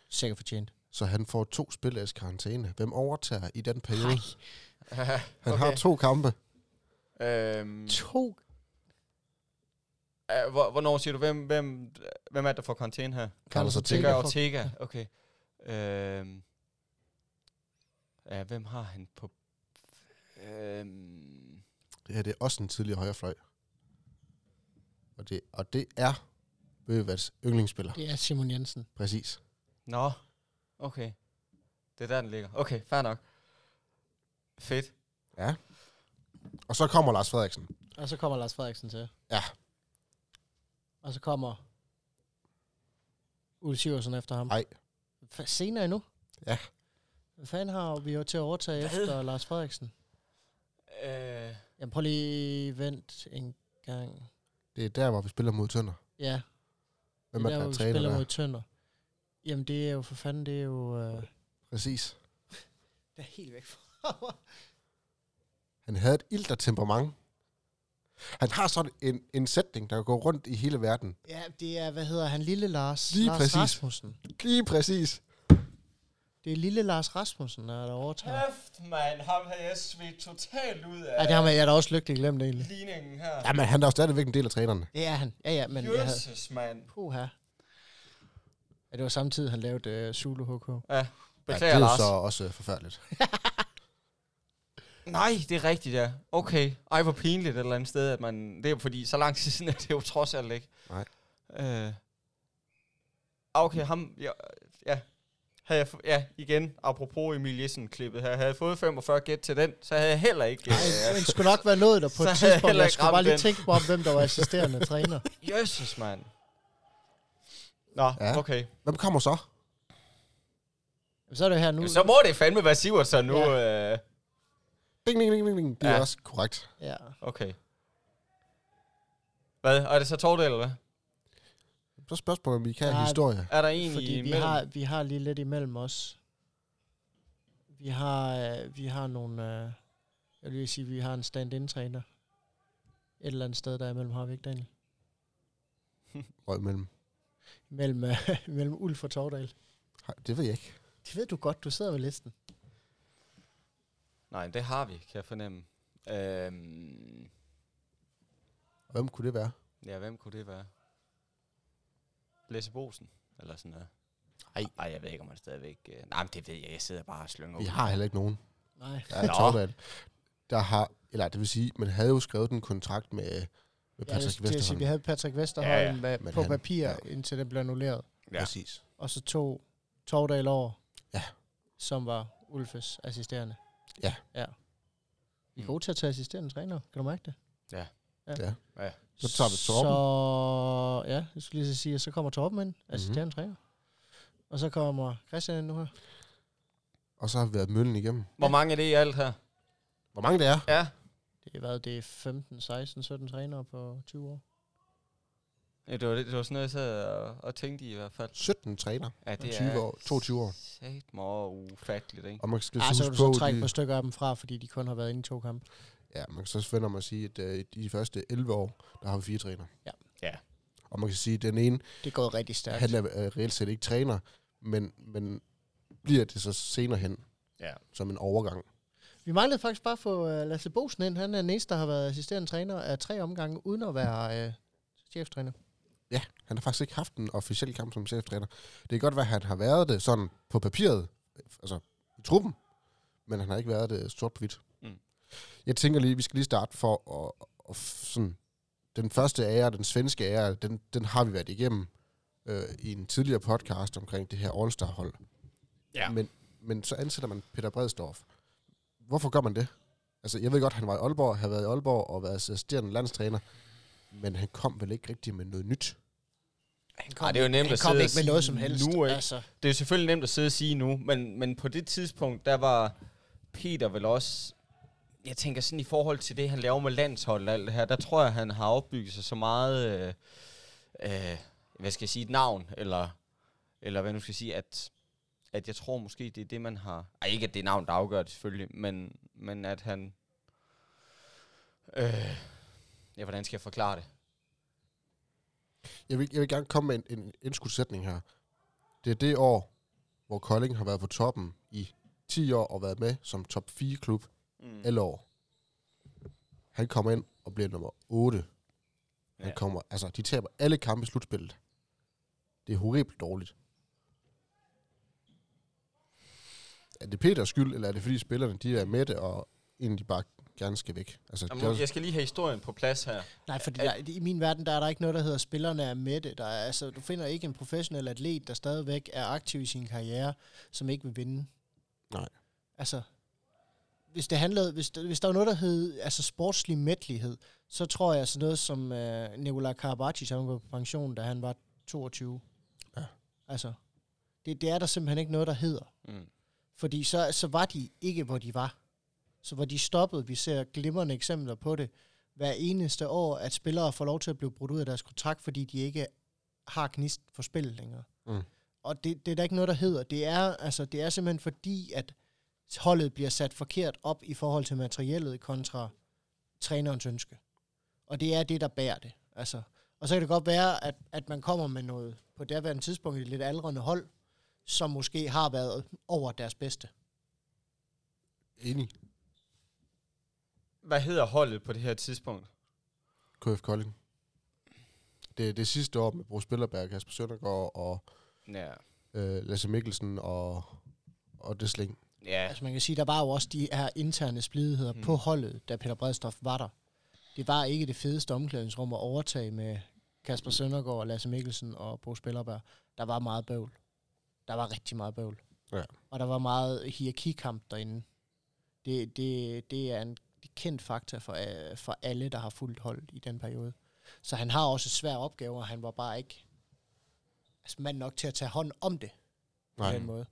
Speaker 2: Sikkert fortjent.
Speaker 1: Så han får to spilledags karantæne. Hvem overtager i den periode?
Speaker 2: Nej,
Speaker 1: Han
Speaker 3: Okay.
Speaker 1: okay. har to kampe.
Speaker 3: øhm,
Speaker 2: to.
Speaker 3: øh, hvor- hvornår siger du, hvem, hvem, hvem er det, der får karantæne her?
Speaker 1: Carlos
Speaker 3: Det
Speaker 1: Ortega.
Speaker 3: gør
Speaker 2: får-
Speaker 3: Ortega. Okay. Øhm. Ja, hvem har han på... Øhm.
Speaker 1: Det her det er også en tidligere højrefløj. Og det, og det er Bøgevats yndlingsspiller.
Speaker 2: Det er Simon Jensen.
Speaker 1: Præcis.
Speaker 3: Nå, okay. Det er der, den ligger. Okay, fair nok. Fedt.
Speaker 1: Ja. Og så kommer Lars Frederiksen.
Speaker 2: Og så kommer Lars Frederiksen til.
Speaker 1: Ja.
Speaker 2: Og så kommer Ulf Siversen efter ham.
Speaker 1: Nej.
Speaker 2: F- senere endnu?
Speaker 1: Ja.
Speaker 2: Hvad fanden har vi jo til at overtage
Speaker 3: Hvad?
Speaker 2: efter Lars Frederiksen?
Speaker 3: Øh.
Speaker 2: Jamen prøv lige vent en gang.
Speaker 1: Det er der, hvor vi spiller mod Tønder.
Speaker 2: Ja,
Speaker 1: Hvem
Speaker 2: det
Speaker 1: er der,
Speaker 2: er der, hvor
Speaker 1: er
Speaker 2: vi
Speaker 1: træner
Speaker 2: spiller
Speaker 1: der?
Speaker 2: mod Tønder. Jamen det er jo for fanden, det er jo... Øh, det
Speaker 1: Præcis.
Speaker 2: er helt væk fra mig.
Speaker 1: Han havde et ilter temperament. Han har sådan en, en sætning, der går rundt i hele verden.
Speaker 2: Ja, det er, hvad hedder han? Lille Lars?
Speaker 1: Lige
Speaker 2: Lars
Speaker 1: præcis.
Speaker 2: Rasmussen.
Speaker 1: Lige præcis.
Speaker 2: Det er Lille Lars Rasmussen, der er der overtager.
Speaker 3: Kæft, mand. Ham har jeg svedt totalt ud
Speaker 2: Ja,
Speaker 3: af
Speaker 2: det har man, jeg er da også lykkelig glemt egentlig.
Speaker 3: ligningen her.
Speaker 1: Jamen, han er jo stadigvæk en del af trænerne.
Speaker 2: Det er han. Ja, ja, men jeg havde...
Speaker 3: Jesus, mand.
Speaker 2: Puha. Ja, det var samtidig, han lavede øh, Zulu HK.
Speaker 3: Ja,
Speaker 1: ja,
Speaker 3: beklager,
Speaker 1: det
Speaker 3: ja,
Speaker 1: er jo
Speaker 3: Lars.
Speaker 1: så også øh, forfærdeligt.
Speaker 3: Nej, det er rigtigt, ja. Okay. Ej, hvor pinligt et eller andet sted, at man... Det er jo fordi, så lang tid siden er det jo trods alt ikke.
Speaker 1: Nej.
Speaker 3: Øh. Ah, Okay, ham... Ja, ja. Havde jeg, fu- ja, igen, apropos Emil Jessen-klippet her. Havde jeg fået 45 gæt til den, så havde jeg heller ikke...
Speaker 2: Nej,
Speaker 3: Øh,
Speaker 2: men skulle nok være nået der på
Speaker 3: Så
Speaker 2: et
Speaker 3: havde jeg
Speaker 2: tidspunkt.
Speaker 3: heller
Speaker 2: Jeg
Speaker 3: ikke
Speaker 2: skulle bare
Speaker 3: ramt
Speaker 2: lige
Speaker 3: den.
Speaker 2: tænke på, om, hvem der var assisterende træner.
Speaker 3: Jesus, mand. Nå, ja.
Speaker 1: Ja.
Speaker 3: okay.
Speaker 1: Hvem kommer så?
Speaker 2: Jamen, Så er det her nu.
Speaker 3: Jamen, så må det fandme være Sivert så nu. Ja. Øh,
Speaker 1: Ding, ding, ding, ding, ding. Det er
Speaker 3: Ja.
Speaker 1: ja. også korrekt.
Speaker 2: Ja.
Speaker 3: okay. Hvad? Og er det så Tordal, eller hvad?
Speaker 1: Så er spørgsmålet, om vi kan ja,
Speaker 2: Nej,
Speaker 1: historie.
Speaker 3: Er der en
Speaker 2: Fordi
Speaker 3: i
Speaker 2: vi
Speaker 3: imellem?
Speaker 2: har, vi har lige lidt imellem os. Vi har, øh, vi har nogle... Øh, jeg vil lige sige, vi har en stand-in-træner. Et eller andet sted der imellem har vi ikke, Daniel?
Speaker 1: Røg imellem.
Speaker 2: Mellem, øh, mellem Ulf og Tordal.
Speaker 1: Hej, Det ved jeg ikke.
Speaker 2: Det ved du godt, du sidder ved listen.
Speaker 3: Nej, det har vi, kan jeg fornemme. Øhm,
Speaker 1: Hvem kunne det være?
Speaker 3: ja, hvem kunne det være? Lasse Bosen, eller sådan noget.
Speaker 1: Ej.
Speaker 3: Ej, jeg ved ikke, om han stadigvæk... Øh, nej, men det ved jeg. Jeg sidder bare og slynger
Speaker 1: Vi
Speaker 3: ud.
Speaker 1: har heller ikke nogen.
Speaker 2: Nej.
Speaker 1: Der er
Speaker 3: Nå.
Speaker 1: Torvald, der har, eller det vil sige, man havde jo skrevet en kontrakt med, med
Speaker 2: Ja,
Speaker 1: Patrick
Speaker 2: det,
Speaker 1: ja,
Speaker 2: det vil sige,
Speaker 1: Vesterholm.
Speaker 2: vi havde Patrick
Speaker 3: Ja, ja.
Speaker 2: Vesterholm ja, ja.
Speaker 1: Men
Speaker 2: på
Speaker 1: han-
Speaker 2: papir,
Speaker 1: ja.
Speaker 2: ja. indtil den blev annulleret.
Speaker 3: Ja.
Speaker 1: Præcis.
Speaker 2: Og så tog Tordal over,
Speaker 1: Ja.
Speaker 2: som var Ulfes assisterende.
Speaker 1: Ja.
Speaker 2: ja. Vi er
Speaker 3: Mm.
Speaker 2: gode til at tage assisterende træner, kan du mærke det?
Speaker 1: Ja.
Speaker 3: Ja.
Speaker 1: Så tager vi Torben.
Speaker 2: Så, ja, jeg skulle lige så sige, at så kommer Torben ind,
Speaker 1: Mhm.
Speaker 2: assisterende træner. Og så kommer Christian ind nu her.
Speaker 1: Og så har vi været møllen igennem.
Speaker 3: Hvor mange er det i alt her?
Speaker 1: Hvor mange det er?
Speaker 3: Ja.
Speaker 2: Det har været det er 15, 16, 17 trænere på 20 år.
Speaker 3: ja det, var, det, det var sådan noget, jeg sad og, og tænkte i, i hvert fald.
Speaker 1: 17 træner.
Speaker 3: Ja,
Speaker 1: det 20 er år- 22 år.
Speaker 3: Sæt mig ufatteligt, ikke?
Speaker 1: Og man skal
Speaker 2: Ah, så
Speaker 1: så
Speaker 2: kan
Speaker 1: huske
Speaker 2: du
Speaker 1: på,
Speaker 2: så trække
Speaker 1: de-
Speaker 2: på stykker af dem fra, fordi de kun har været inde i to kampe.
Speaker 1: Ja, man kan så vende om at sige, at øh, i de første 11 år, der har vi fire trænere.
Speaker 2: Ja.
Speaker 3: Ja.
Speaker 1: Og man kan sige, at den ene,
Speaker 2: Det går rigtig stærkt.
Speaker 1: han er øh, reelt set ikke træner, men, men bliver det så senere hen
Speaker 3: Ja.
Speaker 1: som en overgang.
Speaker 2: Vi manglede faktisk bare at få øh, Lasse Bosen ind. Han er den eneste, der har været assisterende træner af tre omgange, uden at være øh, cheftræner.
Speaker 1: Ja, han har faktisk ikke haft en officiel kamp som cheftræner. Det kan godt være, at han har været det sådan på papiret, altså i truppen, men han har ikke været det sort på hvidt.
Speaker 3: Mm.
Speaker 1: Jeg tænker lige, vi skal lige starte for at, at f- sådan, den første ære, den svenske ære, den, den har vi været igennem øh, i en tidligere podcast omkring det her All-Star-hold.
Speaker 3: Ja.
Speaker 1: Men, men så ansætter man Peter Bredstorff. Hvorfor gør man det? Altså, jeg ved godt, han var i Aalborg, har været i Aalborg og været assisterende landstræner, men han kom vel ikke rigtig med noget nyt.
Speaker 2: Han
Speaker 3: Ej, det er jo nemt
Speaker 2: han
Speaker 3: at
Speaker 2: kom
Speaker 3: sidde
Speaker 2: ikke
Speaker 3: og
Speaker 2: med
Speaker 3: sige
Speaker 2: noget som helst.
Speaker 3: nu, ikke?
Speaker 2: Altså,
Speaker 3: Det er jo selvfølgelig nemt at sidde og sige nu, men, men på det tidspunkt, der var Peter vel også... Jeg tænker sådan i forhold til det, han laver med landshold og alt det her, der tror jeg, han har opbygget sig så meget... Øh, øh, hvad skal jeg sige? Et navn, eller, eller hvad nu skal jeg sige? At, at jeg tror måske, det er det, man har... Ej, ikke at det er navn, der afgør det selvfølgelig, men, men at han... Øh, ja, hvordan skal jeg forklare det?
Speaker 1: Jeg vil, jeg vil gerne komme med en, en indskudsætning her. Det er det år, hvor Kolding har været på toppen i 10 år og været med som top 4-klub mm. alle år. Han kommer ind og bliver nummer 8. Han
Speaker 3: Ja.
Speaker 1: kommer, altså, de taber alle kampe i slutspillet. Det er horribelt dårligt. Er det Peters skyld, eller er det fordi spillerne de er med det, og egentlig bare gerne skal væk? Altså, det er,
Speaker 3: Jamen, jeg skal lige have historien på plads her.
Speaker 2: nej, fordi der, i min verden, der er der ikke noget, der hedder, spillerne er med det. Der er, altså, du finder ikke en professionel atlet, der stadigvæk er aktiv i sin karriere, som ikke vil vinde.
Speaker 1: Nej.
Speaker 2: Altså, hvis det handlede, hvis, der- hvis der var noget, der hed altså sportslig mætlighed, så tror jeg sådan noget som øh, Nikola Karabatic, han var på pension, da han var 22.
Speaker 1: Ja.
Speaker 2: Altså, det, det er der simpelthen ikke noget, der hedder.
Speaker 3: Mm.
Speaker 2: Fordi så, så var de ikke, hvor de var. Så hvor de stoppede, vi ser glimrende eksempler på det, hver eneste år, at spillere får lov til at blive brudt ud af deres kontrakt, fordi de ikke har gnist for spil længere.
Speaker 1: Mm.
Speaker 2: Og det, det er der ikke noget, der hedder. Det er, altså, det er simpelthen fordi, at holdet bliver sat forkert op i forhold til materiellet kontra trænerens ønske. Og det er det, der bærer det. Altså. Og så kan det godt være, at, at man kommer med noget på derværende tidspunkt i et lidt aldrende hold, som måske har været over deres bedste.
Speaker 1: enig.
Speaker 3: Hvad hedder holdet på det her tidspunkt?
Speaker 1: KF Kolding. Det, det sidste år med Bruce Spillerberg, Kasper Søndergaard og
Speaker 3: Ja.
Speaker 1: øh, Lasse Mikkelsen og, og Desling.
Speaker 3: Ja,
Speaker 2: Altså man kan sige, der var jo også de her interne splidigheder
Speaker 3: Mm.
Speaker 2: mm. på holdet, da Peter Bredstof var der. Det var ikke det fedeste omklædningsrum at overtage med Kasper Søndergaard, Lasse Mikkelsen og Bo Spillerberg. Der var meget bøvl. Der var rigtig meget bøvl.
Speaker 1: Ja.
Speaker 2: Og der var meget hierarkikamp derinde. Det, det, det er en kendt faktor for, øh, for alle, der har fulgt hold i den periode. Så han har også svære opgaver, og han var bare ikke altså mand nok til at tage hånd om det på
Speaker 1: Nej,
Speaker 2: den måde.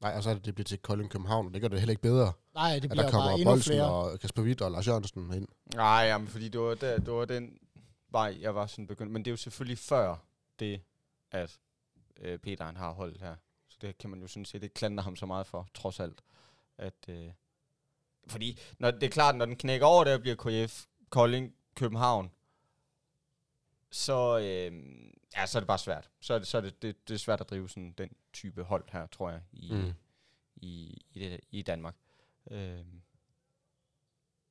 Speaker 1: nej, og så er det, det bliver til Kolding København, og det gør det heller ikke bedre,
Speaker 2: Nej, det
Speaker 1: at
Speaker 2: bliver
Speaker 1: der
Speaker 2: jo bare
Speaker 1: kommer
Speaker 2: endnu
Speaker 1: Bolsen
Speaker 2: flere.
Speaker 1: og Kasper Witt og Lars Jørgensen ind.
Speaker 3: Nej, jamen, fordi det var, der, det var den vej, jeg var sådan begyndt. Men det er jo selvfølgelig før det, at øh, Peter han har holdet her. Så det kan man jo sådan set ikke klandre ham så meget for, trods alt. At, øh, fordi når, det er klart, når den knækker over, der bliver KF Kolding København, så, øh, ja, så er det bare svært. Så er det, så er det, det, det er svært at drive sådan den type hold her, tror jeg, i,
Speaker 1: Mm.
Speaker 3: mm. i, i, det, i Danmark. Øh,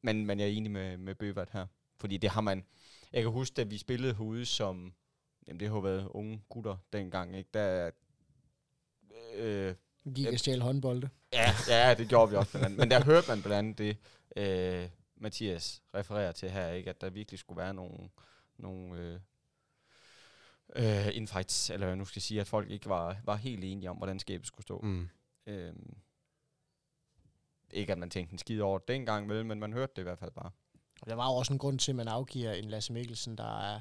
Speaker 3: men, men jeg er enig med, med Bøvert her. Fordi det har man... Jeg kan huske, da vi spillede herude som... Jamen, det har jo været unge gutter dengang, ikke? Der, øh,
Speaker 2: Gik og stjæle håndbolde.
Speaker 3: ja, ja, det gjorde vi også blandt andet. Men der hørte man blandt andet det, øh, Mathias refererer til her, ikke? At der virkelig skulle være nogle... nogle øh, øh, infights, eller hvad jeg nu skal jeg sige, at folk ikke var, var helt enige om, hvordan skabet skulle stå.
Speaker 1: Mm.
Speaker 3: Øhm, ikke at man tænkte en skid over det dengang, vel, men man hørte det i hvert fald bare.
Speaker 2: Og der var jo også en grund til, at man afgiver en Lasse Mikkelsen, der er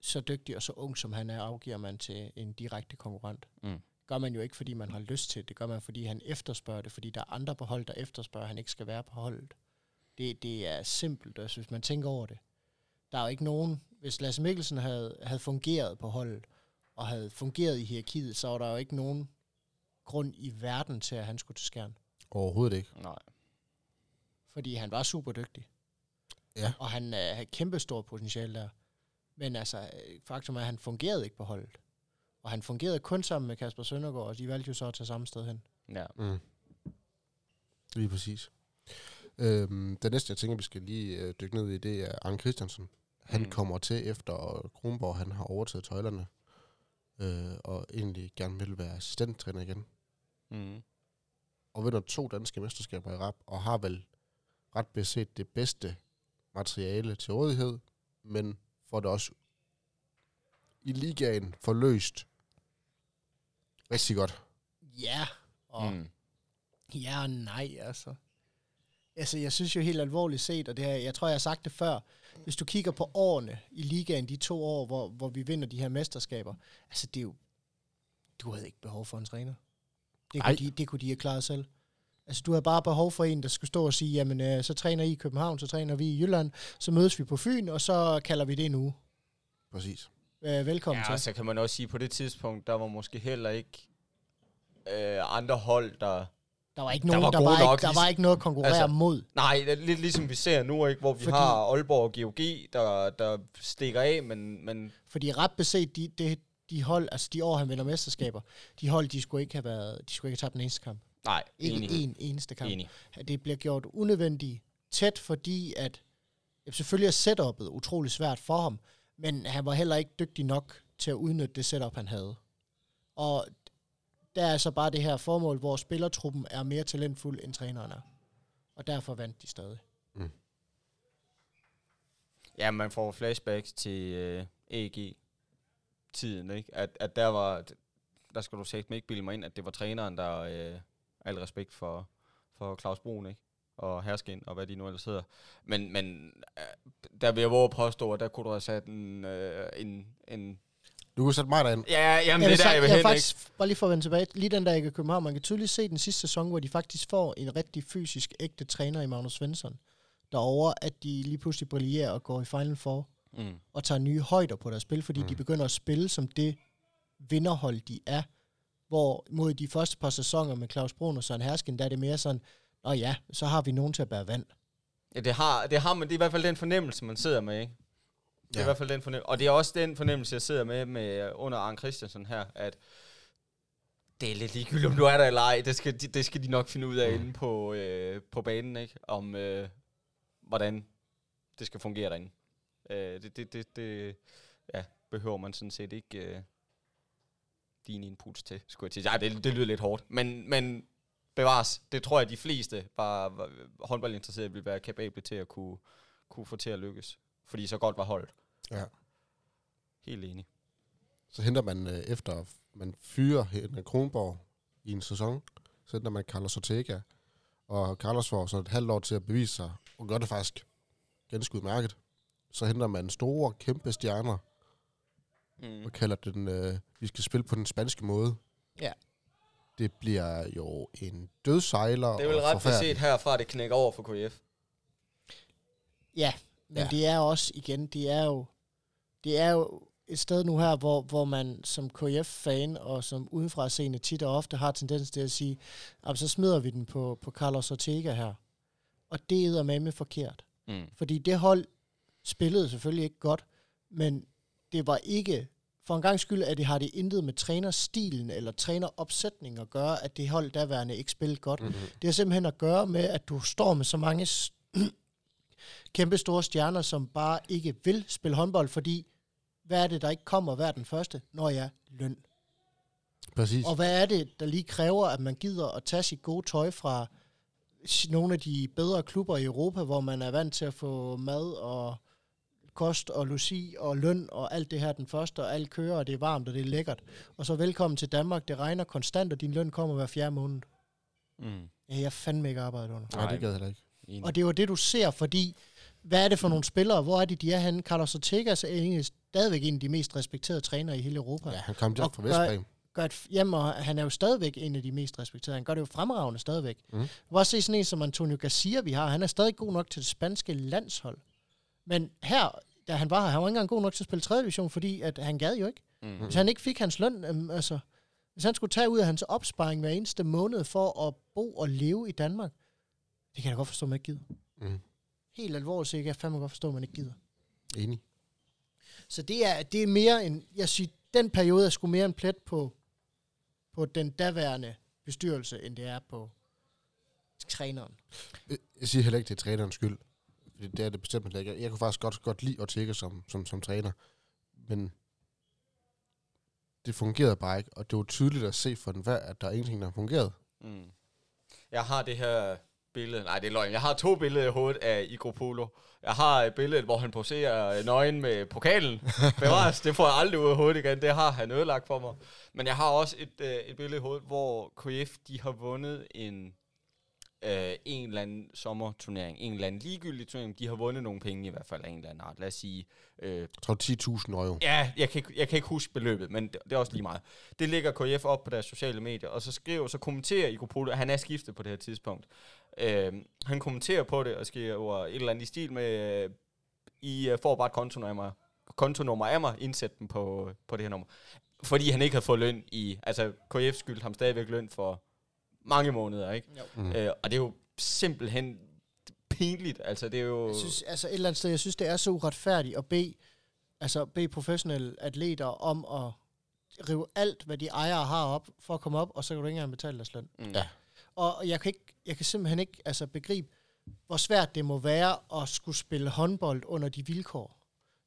Speaker 2: så dygtig og så ung, som han er, afgiver man til en direkte konkurrent.
Speaker 3: Mm.
Speaker 2: Gør man jo ikke, fordi man har lyst til det. Det gør man, fordi han efterspørger det, fordi der er andre på hold, der efterspørger, at han ikke skal være på holdet. Det, det er simpelt, altså, hvis man tænker over det. Der er jo ikke nogen... Hvis Lasse Mikkelsen havde, havde fungeret på holdet, og havde fungeret i hierarkiet, så var der jo ikke nogen grund i verden til, at han skulle til skærn.
Speaker 1: Overhovedet ikke.
Speaker 3: Nej.
Speaker 2: Fordi han var super dygtig.
Speaker 1: Ja.
Speaker 2: Og han øh, havde kæmpe stort potentiale der. Men altså, øh, faktum er, at han fungerede ikke på holdet. Og han fungerede kun sammen med Kasper Søndergaard, og de valgte jo så at tage samme sted hen.
Speaker 3: Ja.
Speaker 1: Mm. Lige præcis. Øhm, det næste, jeg tænker, vi skal lige øh, dykke ned i, det er Arne Christiansen. Han
Speaker 3: Mm.
Speaker 1: mm. kommer til efter Kronborg, han har overtaget tøjlerne, øh, og egentlig gerne vil være assistenttræner igen.
Speaker 3: Mm.
Speaker 1: Og vinder to danske mesterskaber i rap, og har vel ret beset det bedste materiale til rådighed, men får det også i ligaen forløst rigtig godt.
Speaker 2: Ja, og
Speaker 3: Og,
Speaker 2: mm. ja og nej, altså. Altså, jeg synes jo helt alvorligt set, og det her, jeg tror, jeg har sagt det før, hvis du kigger på årene i ligaen, de to år, hvor, hvor vi vinder de her mesterskaber, altså det er jo, du havde ikke behov for en træner. Det
Speaker 1: Ej.
Speaker 2: kunne, de, det kunne de have klaret selv. Altså, du havde bare behov for en, der skulle stå og sige, jamen, øh, så træner I i København, så træner vi i Jylland, så mødes vi på Fyn, og så kalder vi det en uge.
Speaker 1: Præcis.
Speaker 2: Øh, velkommen
Speaker 3: ja, altså,
Speaker 2: til.
Speaker 3: så kan man også sige, på det tidspunkt, der var måske heller ikke øh, andre hold, der...
Speaker 2: Der var ikke,
Speaker 3: der
Speaker 2: nogen,
Speaker 3: var
Speaker 2: der,
Speaker 3: gode
Speaker 2: var
Speaker 3: nok,
Speaker 2: ikke, der
Speaker 3: ligesom-
Speaker 2: var ikke noget at konkurrere
Speaker 3: Altså,
Speaker 2: altså, mod.
Speaker 3: Nej, det er lidt ligesom vi ser nu, ikke, hvor vi Fordi...
Speaker 2: Fordi-
Speaker 3: har Aalborg og GOG, der, der stikker af, men, men
Speaker 2: Fordi ret beset, de, de, de hold, altså de år, han vinder mesterskaber, de hold, de skulle ikke have været, de skulle ikke have tabt den eneste kamp.
Speaker 3: nej,
Speaker 2: Ikke
Speaker 3: enig.
Speaker 2: en eneste kamp.
Speaker 3: enig.
Speaker 2: At Det bliver gjort unødvendigt tæt, fordi at, jamen, selvfølgelig er setupet utrolig svært for ham, men han var heller ikke dygtig nok til at udnytte det setup, han havde. Og der er så bare det her formål, hvor spillertruppen er mere talentfuld, end træneren er. Og derfor vandt de stadig.
Speaker 3: Ja, man får flashbacks til øh, AG-tiden, ikke? At, at der var... Der skal du sagt ikke bilde mig ind, at det var træneren, der... Øh, al respekt for, for Claus Brun, ikke? Og Herskin, og hvad de nu ellers hedder. Men, men øh, der vil jeg våge at påstå, at der kunne du have sat en... Øh, en, en
Speaker 1: Du kunne sætte mig derind.
Speaker 3: ja, jamen, det er der, jeg vil
Speaker 2: jeg
Speaker 3: hen,
Speaker 2: vil
Speaker 3: faktisk...
Speaker 2: faktisk, bare lige for at vende tilbage, lige den der ikke København, man kan tydeligt se den sidste sæson, hvor de faktisk får en rigtig fysisk ægte træner i Magnus Svensson, derover at de lige pludselig brillerer og går i Final Four
Speaker 3: ikke? Mm.
Speaker 2: og tager nye højder på deres spil, fordi mm. de begynder at spille som det vinderhold, de er. Hvor mod de første par sæsoner med Claus Brun og Søren Hersken, der er det mere sådan, Nå ja, så har vi nogen til at bære vand.
Speaker 3: Ja, det har, det har man. Det er i hvert fald den fornemmelse, man sidder med, ikke? Det er
Speaker 1: Ja.
Speaker 3: i hvert fald den fornemmelse. Og det er også den fornemmelse, jeg sidder med, med øh, under Arne Christiansen her, at det er lidt ligegyldigt, om du er der eller ej. Det skal, de- det skal de nok finde ud af mm. inde på, øh, på banen, ikke? Om øh, hvordan det skal fungere derinde. Øh, det, det, det, det ja, behøver man sådan set ikke øh, dine inputs til, skulle jeg til. Ja, det, det lyder lidt hårdt, men, men bevares. Det tror jeg, de fleste var, var håndboldinteresserede ville være kapable til at kunne, kunne få til at lykkes. Fordi så godt var holdet.
Speaker 1: Ja.
Speaker 3: Helt enig.
Speaker 1: Så henter man, øh, efter man fyrer Henrik Kronborg i en sæson, så henter man Carlos Ortega, og Carlos får så et halvt år til at bevise sig, og gør det faktisk ganske udmærket. Så henter man store, kæmpe stjerner,
Speaker 3: Mm.
Speaker 1: og kalder den, øh, vi skal spille på den spanske måde.
Speaker 2: Ja.
Speaker 1: Det bliver jo en dødsejler.
Speaker 3: Det er vel
Speaker 1: og
Speaker 3: ret
Speaker 1: forfærdelig.
Speaker 3: beset herfra, det knækker over for KF.
Speaker 2: Ja, men
Speaker 1: Ja.
Speaker 2: ja. det er også, igen, det er jo, det er jo et sted nu her, hvor, hvor man som KF-fan og som udenfra seende tit og ofte har tendens til at sige, "Jamen, så smider vi den på, på Carlos Ortega her. Og det er med forkert.
Speaker 3: Mm.
Speaker 2: Fordi det hold spillede selvfølgelig ikke godt, men det var ikke, for en gang skyld, at det har det intet med trænerstilen eller træneropsætningen at gøre, at det hold derværende ikke spillede
Speaker 1: Mm.
Speaker 2: godt. Mm-hmm. Det har simpelthen at gøre med, at du står med så mange s- kæmpe store stjerner, som bare ikke vil spille håndbold, fordi hvad er det, der ikke kommer hver den første? Når jeg løn.
Speaker 1: Præcis.
Speaker 2: Og hvad er det, der lige kræver, at man gider at tage sit gode tøj fra s- nogle af de bedre klubber i Europa, hvor man er vant til at få mad og kost og logi og løn og alt det her den første, og alt kører, og det er varmt, og det er lækkert. Og så velkommen til Danmark, det regner konstant, og din løn kommer hver fjerde måned.
Speaker 3: Mm.
Speaker 2: Ja, jeg er fandme ikke arbejdet under.
Speaker 1: Nej,
Speaker 3: Nej.
Speaker 2: Mm.
Speaker 1: det gad jeg heller ikke.
Speaker 2: Og det var det, du ser, fordi hvad er det for nogle spillere? Hvor er de, de er henne? Carlos Ortegas er egentlig stadigvæk en af de mest respekterede trænere i hele Europa.
Speaker 1: Ja, han kom til
Speaker 2: Og
Speaker 1: fra
Speaker 2: gør-
Speaker 1: Vestbrem.
Speaker 2: Gør et, jamen, og han er jo stadigvæk en af de mest respekterede. Han gør det jo fremragende stadigvæk.
Speaker 1: Mm.
Speaker 2: Mm. Du kan også se sådan en som Antonio Garcia, vi har. Han er stadig god nok til det spanske landshold. Men her, da han var her, han var ikke engang god nok til at spille 3. division, fordi at han gad jo ikke.
Speaker 3: Mm.
Speaker 2: Mm. Hvis han ikke fik hans løn, øhm, altså, hvis han skulle tage ud af hans opsparing hver eneste måned for at bo og leve i Danmark, det kan jeg da godt forstå, at man ikke gider.
Speaker 1: Mm.
Speaker 2: Helt alvorligt, så jeg kan fandme godt forstå, at man ikke gider.
Speaker 1: Enig.
Speaker 2: Så det er, det er mere en, jeg siger, den periode er sgu mere en plet på, på den daværende bestyrelse, end det er på træneren.
Speaker 1: Jeg siger heller ikke, det er trænerens skyld. Fordi det er det bestemt heller ikke. Jeg kunne faktisk godt, godt lide Ortega som, som, som træner. Men det fungerede bare ikke, og det var tydeligt at se for enhver, at der er ingenting, der har fungeret.
Speaker 3: Mm. Jeg har det her billede. Nej, det er løgn. Jeg har to billeder i hovedet af Igor Polo. Jeg har et billede, hvor han poserer øh, nøgen med pokalen. Bevares, det får jeg aldrig ud af hovedet igen. Det har han ødelagt for mig. Men jeg har også et, øh, et billede i hovedet, hvor KF de har vundet en, øh, en eller anden sommerturnering. En eller anden ligegyldig turnering. De har vundet nogle penge i hvert fald af en eller anden art. Lad os sige øh,
Speaker 1: Jeg tror 10.000 euro.
Speaker 3: Ja, jeg kan, ikke, jeg kan ikke huske beløbet, men det, det er også lige meget. Det lægger KF op på deres sociale medier, og så skriver, så kommenterer Igor Polo, han er skiftet på det her tidspunkt. Øhm, han kommenterer på det og skriver et eller andet i stil med, øh, I øh, får bare et kontonummer, kontonummer af mig, indsæt dem på, på det her nummer. Fordi han ikke havde fået løn i, altså KF skyldte ham stadigvæk løn for mange måneder, ikke?
Speaker 1: Mm.
Speaker 3: Øh, og det er jo simpelthen pinligt, altså det er jo...
Speaker 2: Jeg synes, altså et eller andet sted, jeg synes, det er så uretfærdigt at bede, altså bede professionelle atleter om at rive alt, hvad de ejere har op, for at komme op, og så kan du ikke engang betale deres løn.
Speaker 3: Mm.
Speaker 1: Ja.
Speaker 2: Og jeg kan, ikke, jeg kan simpelthen ikke altså, begribe, hvor svært det må være at skulle spille håndbold under de vilkår.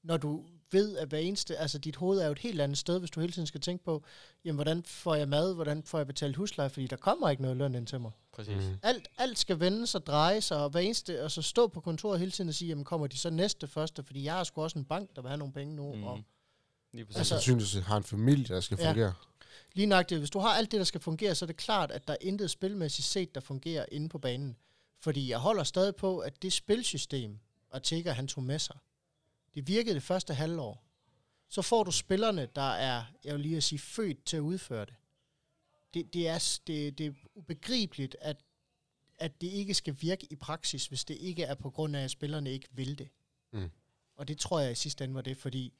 Speaker 2: Når du ved, at hver eneste, altså dit hoved er jo et helt andet sted, hvis du hele tiden skal tænke på, jamen hvordan får jeg mad, hvordan får jeg betalt husleje, fordi der kommer ikke noget løn ind til mig.
Speaker 3: Præcis.
Speaker 1: Mm.
Speaker 2: Alt, alt skal vendes og drejes, og hver eneste, og så stå på kontoret hele tiden og sige, jamen kommer de så næste første, fordi jeg har sgu også en bank, der vil have nogle penge nu. Mm. Og
Speaker 3: Lige præcis.
Speaker 1: Altså,
Speaker 2: Altså-
Speaker 1: sandsynligvis har en familie, der skal
Speaker 2: Ja.
Speaker 1: fungere.
Speaker 2: lige nøjagtigt, hvis du har alt det, der skal fungere, så er det klart, at der er intet spilmæssigt set, der fungerer inde på banen. Fordi jeg holder stadig på, at det spilsystem, og Tigger han tog med sig, det virkede det første halvår. Så får du spillerne, der er, jeg vil lige at sige, født til at udføre det. Det, det, er, s- det, det er ubegribeligt, at, at det ikke skal virke i praksis, hvis det ikke er på grund af, at spillerne ikke vil det.
Speaker 1: Mm.
Speaker 2: Og det tror jeg i sidste ende var det, fordi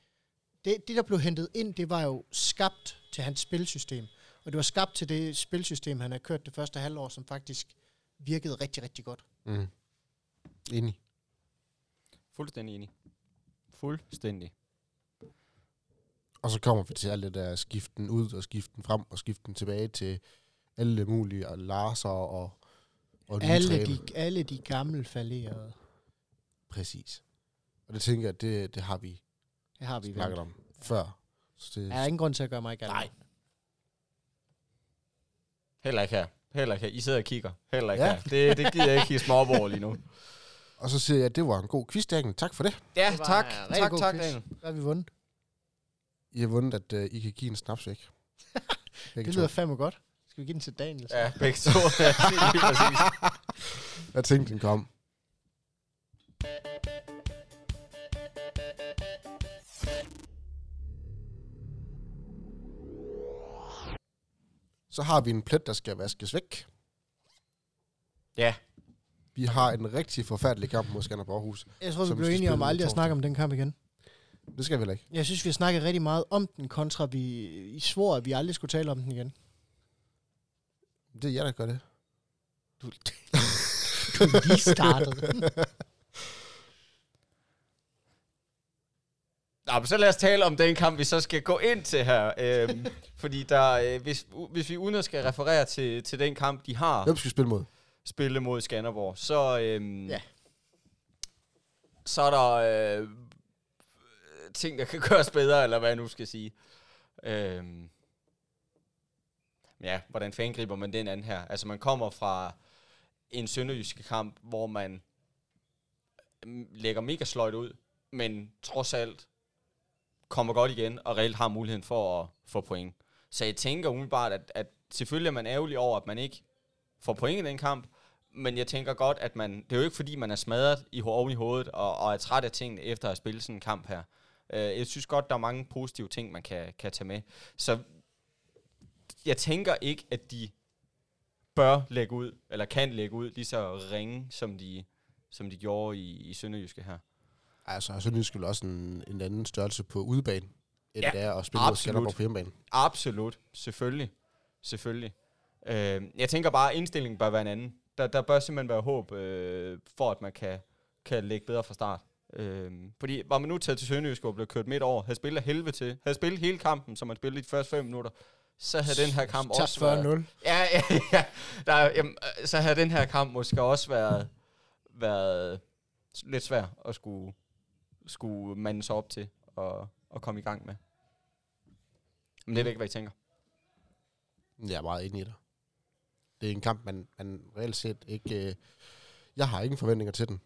Speaker 2: det, det, der blev hentet ind, det var jo skabt til hans spilsystem. Og det var skabt til det spilsystem, han har kørt det første halvår, som faktisk virkede rigtig, rigtig godt.
Speaker 1: Mm. Enig.
Speaker 3: Fuldstændig enig. Fuldstændig.
Speaker 1: Og så kommer vi til alt det der skiften ud og skiften frem og skiften tilbage til alle mulige og Larser og, og nye
Speaker 2: Alle
Speaker 1: træner.
Speaker 2: de, alle de gamle falderede,
Speaker 1: Præcis. Og det tænker jeg, det, det har vi
Speaker 2: det har vi
Speaker 1: snakket
Speaker 2: vendt.
Speaker 1: om før. Så det,
Speaker 2: Der er ingen grund til at gøre mig galt.
Speaker 1: Nej.
Speaker 3: Heller ikke her. Heller ikke her. I sidder og kigger. Heller ikke
Speaker 1: Ja.
Speaker 3: ja. her. Det, det gider jeg ikke hisse mig op over lige nu.
Speaker 1: Og så siger jeg, at det var en god quiz, Daniel. Tak for det.
Speaker 3: Ja,
Speaker 2: Det var
Speaker 3: tak.
Speaker 2: en øh, rigtig
Speaker 3: Tak,
Speaker 2: god
Speaker 3: tak,
Speaker 2: quiz.
Speaker 3: Daniel.
Speaker 2: Hvad har vi vundet?
Speaker 1: I har vundet, at uh, I kan give en snaps væk. Begge
Speaker 2: Det
Speaker 1: to.
Speaker 2: lyder fandme godt. Skal vi give den til Daniel? så?
Speaker 3: Ja, begge to. Ja, lige præcis.
Speaker 1: Jeg tænkte, den kom. Så har vi en plet, der skal vaskes væk.
Speaker 3: Ja.
Speaker 1: Vi har en rigtig forfærdelig kamp mod Skanderborg Aarhus.
Speaker 2: Jeg tror, vi
Speaker 1: Som
Speaker 2: blev
Speaker 1: skal
Speaker 2: enige om
Speaker 1: spille
Speaker 2: aldrig at
Speaker 1: torsdag.
Speaker 2: snakke om den kamp igen.
Speaker 1: Det skal vi heller ikke.
Speaker 2: Jeg synes, vi har snakket rigtig meget om den, kontra vi I svor, at vi aldrig skulle tale om den igen.
Speaker 1: Det er jer, der gør det.
Speaker 2: Du, du er lige startede.
Speaker 3: Nå, men så lad os tale om den kamp, vi så skal gå ind til her. Øhm, fordi der, øh, hvis, u- hvis vi uden at skal referere til, til den kamp, de har
Speaker 1: Hvem skal vi spille mod?
Speaker 3: spillet mod Skanderborg, så, øhm,
Speaker 2: Ja.
Speaker 3: så er der øh, ting, der kan gøres bedre, eller hvad jeg nu skal sige. Øhm, ja, hvordan fanden griber man den anden her? Altså, man kommer fra en sønderjyske kamp, hvor man mm, lægger mega sløjt ud, men trods alt kommer godt igen, og reelt har muligheden for at få point. Så jeg tænker umiddelbart, at, at selvfølgelig er man ærgerlig over, at man ikke får point i den kamp, men jeg tænker godt, at man, det er jo ikke fordi, man er smadret i ho- oven i hovedet og, og er træt af tingene efter at have spillet sådan en kamp her. Øh, jeg synes godt, der er mange positive ting, man kan, kan tage med. Så jeg tænker ikke, at de bør lægge ud, eller kan lægge ud, lige så ringe, som de, som de gjorde i, i Sønderjyske her.
Speaker 1: Altså, og Sønderjysk skulle også en, en anden størrelse på udebane, end
Speaker 3: Ja,
Speaker 1: ja, det er at spille mod
Speaker 3: absolut.
Speaker 1: Skanderborg på hjemmebane.
Speaker 3: Absolut, selvfølgelig. Selvfølgelig. Øh, jeg tænker bare, at indstillingen bør være en anden. Der, der bør simpelthen være håb øh, for, at man kan, kan lægge bedre fra start. Øh, fordi var man nu taget til Sønderjysk og blev kørt midt over, havde spillet af helvede til, havde spillet hele kampen, som man spillede i de første 5 minutter, så havde den her kamp også været...
Speaker 2: Tabt 40-0.
Speaker 3: Ja, ja, ja. Der, er- jamen, øh, så havde den her kamp måske også været, været s- lidt svær at skulle, skulle mande sig op til og, og komme i gang med. Men det er ikke, hvad I tænker.
Speaker 1: Jeg er meget enig i dig. Det er en kamp, man, man reelt set ikke... Øh, jeg har ingen forventninger til den.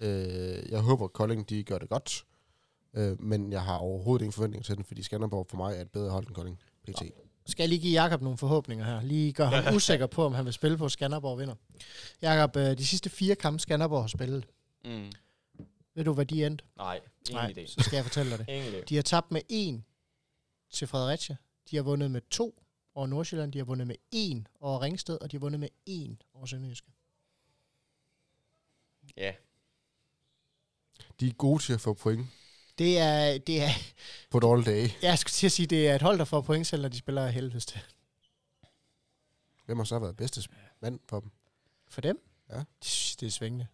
Speaker 1: Øh, jeg håber, at Kolding de gør det godt. Øh, men jeg har overhovedet ingen forventninger til den, fordi Skanderborg for mig er et bedre hold end Kolding. PT.
Speaker 2: Skal jeg lige give Jakob nogle forhåbninger her? Lige gøre ham usikker på, om han vil spille på, at Skanderborg vinder. Jakob, øh, de sidste fire kampe Skanderborg har spillet,
Speaker 3: Mm.
Speaker 2: ved du, hvad de endte?
Speaker 3: Nej, ingen
Speaker 2: Nej,
Speaker 3: idé.
Speaker 2: så skal jeg fortælle dig det.
Speaker 3: Ingen idé.
Speaker 2: De har tabt med en til Fredericia. De har vundet med to over Nordsjælland. De har vundet med en over Ringsted, og de har vundet med en over Sønderjyske.
Speaker 3: Ja.
Speaker 1: De er gode til at få point
Speaker 2: Det er, det er,
Speaker 1: på dårlige dage.
Speaker 2: jeg skulle til at sige, det er et hold, der får point selv, når de spiller af helvedes til.
Speaker 1: Hvem har så været bedste mand for dem?
Speaker 2: For dem?
Speaker 1: Ja.
Speaker 2: Jeg synes, det er svingende.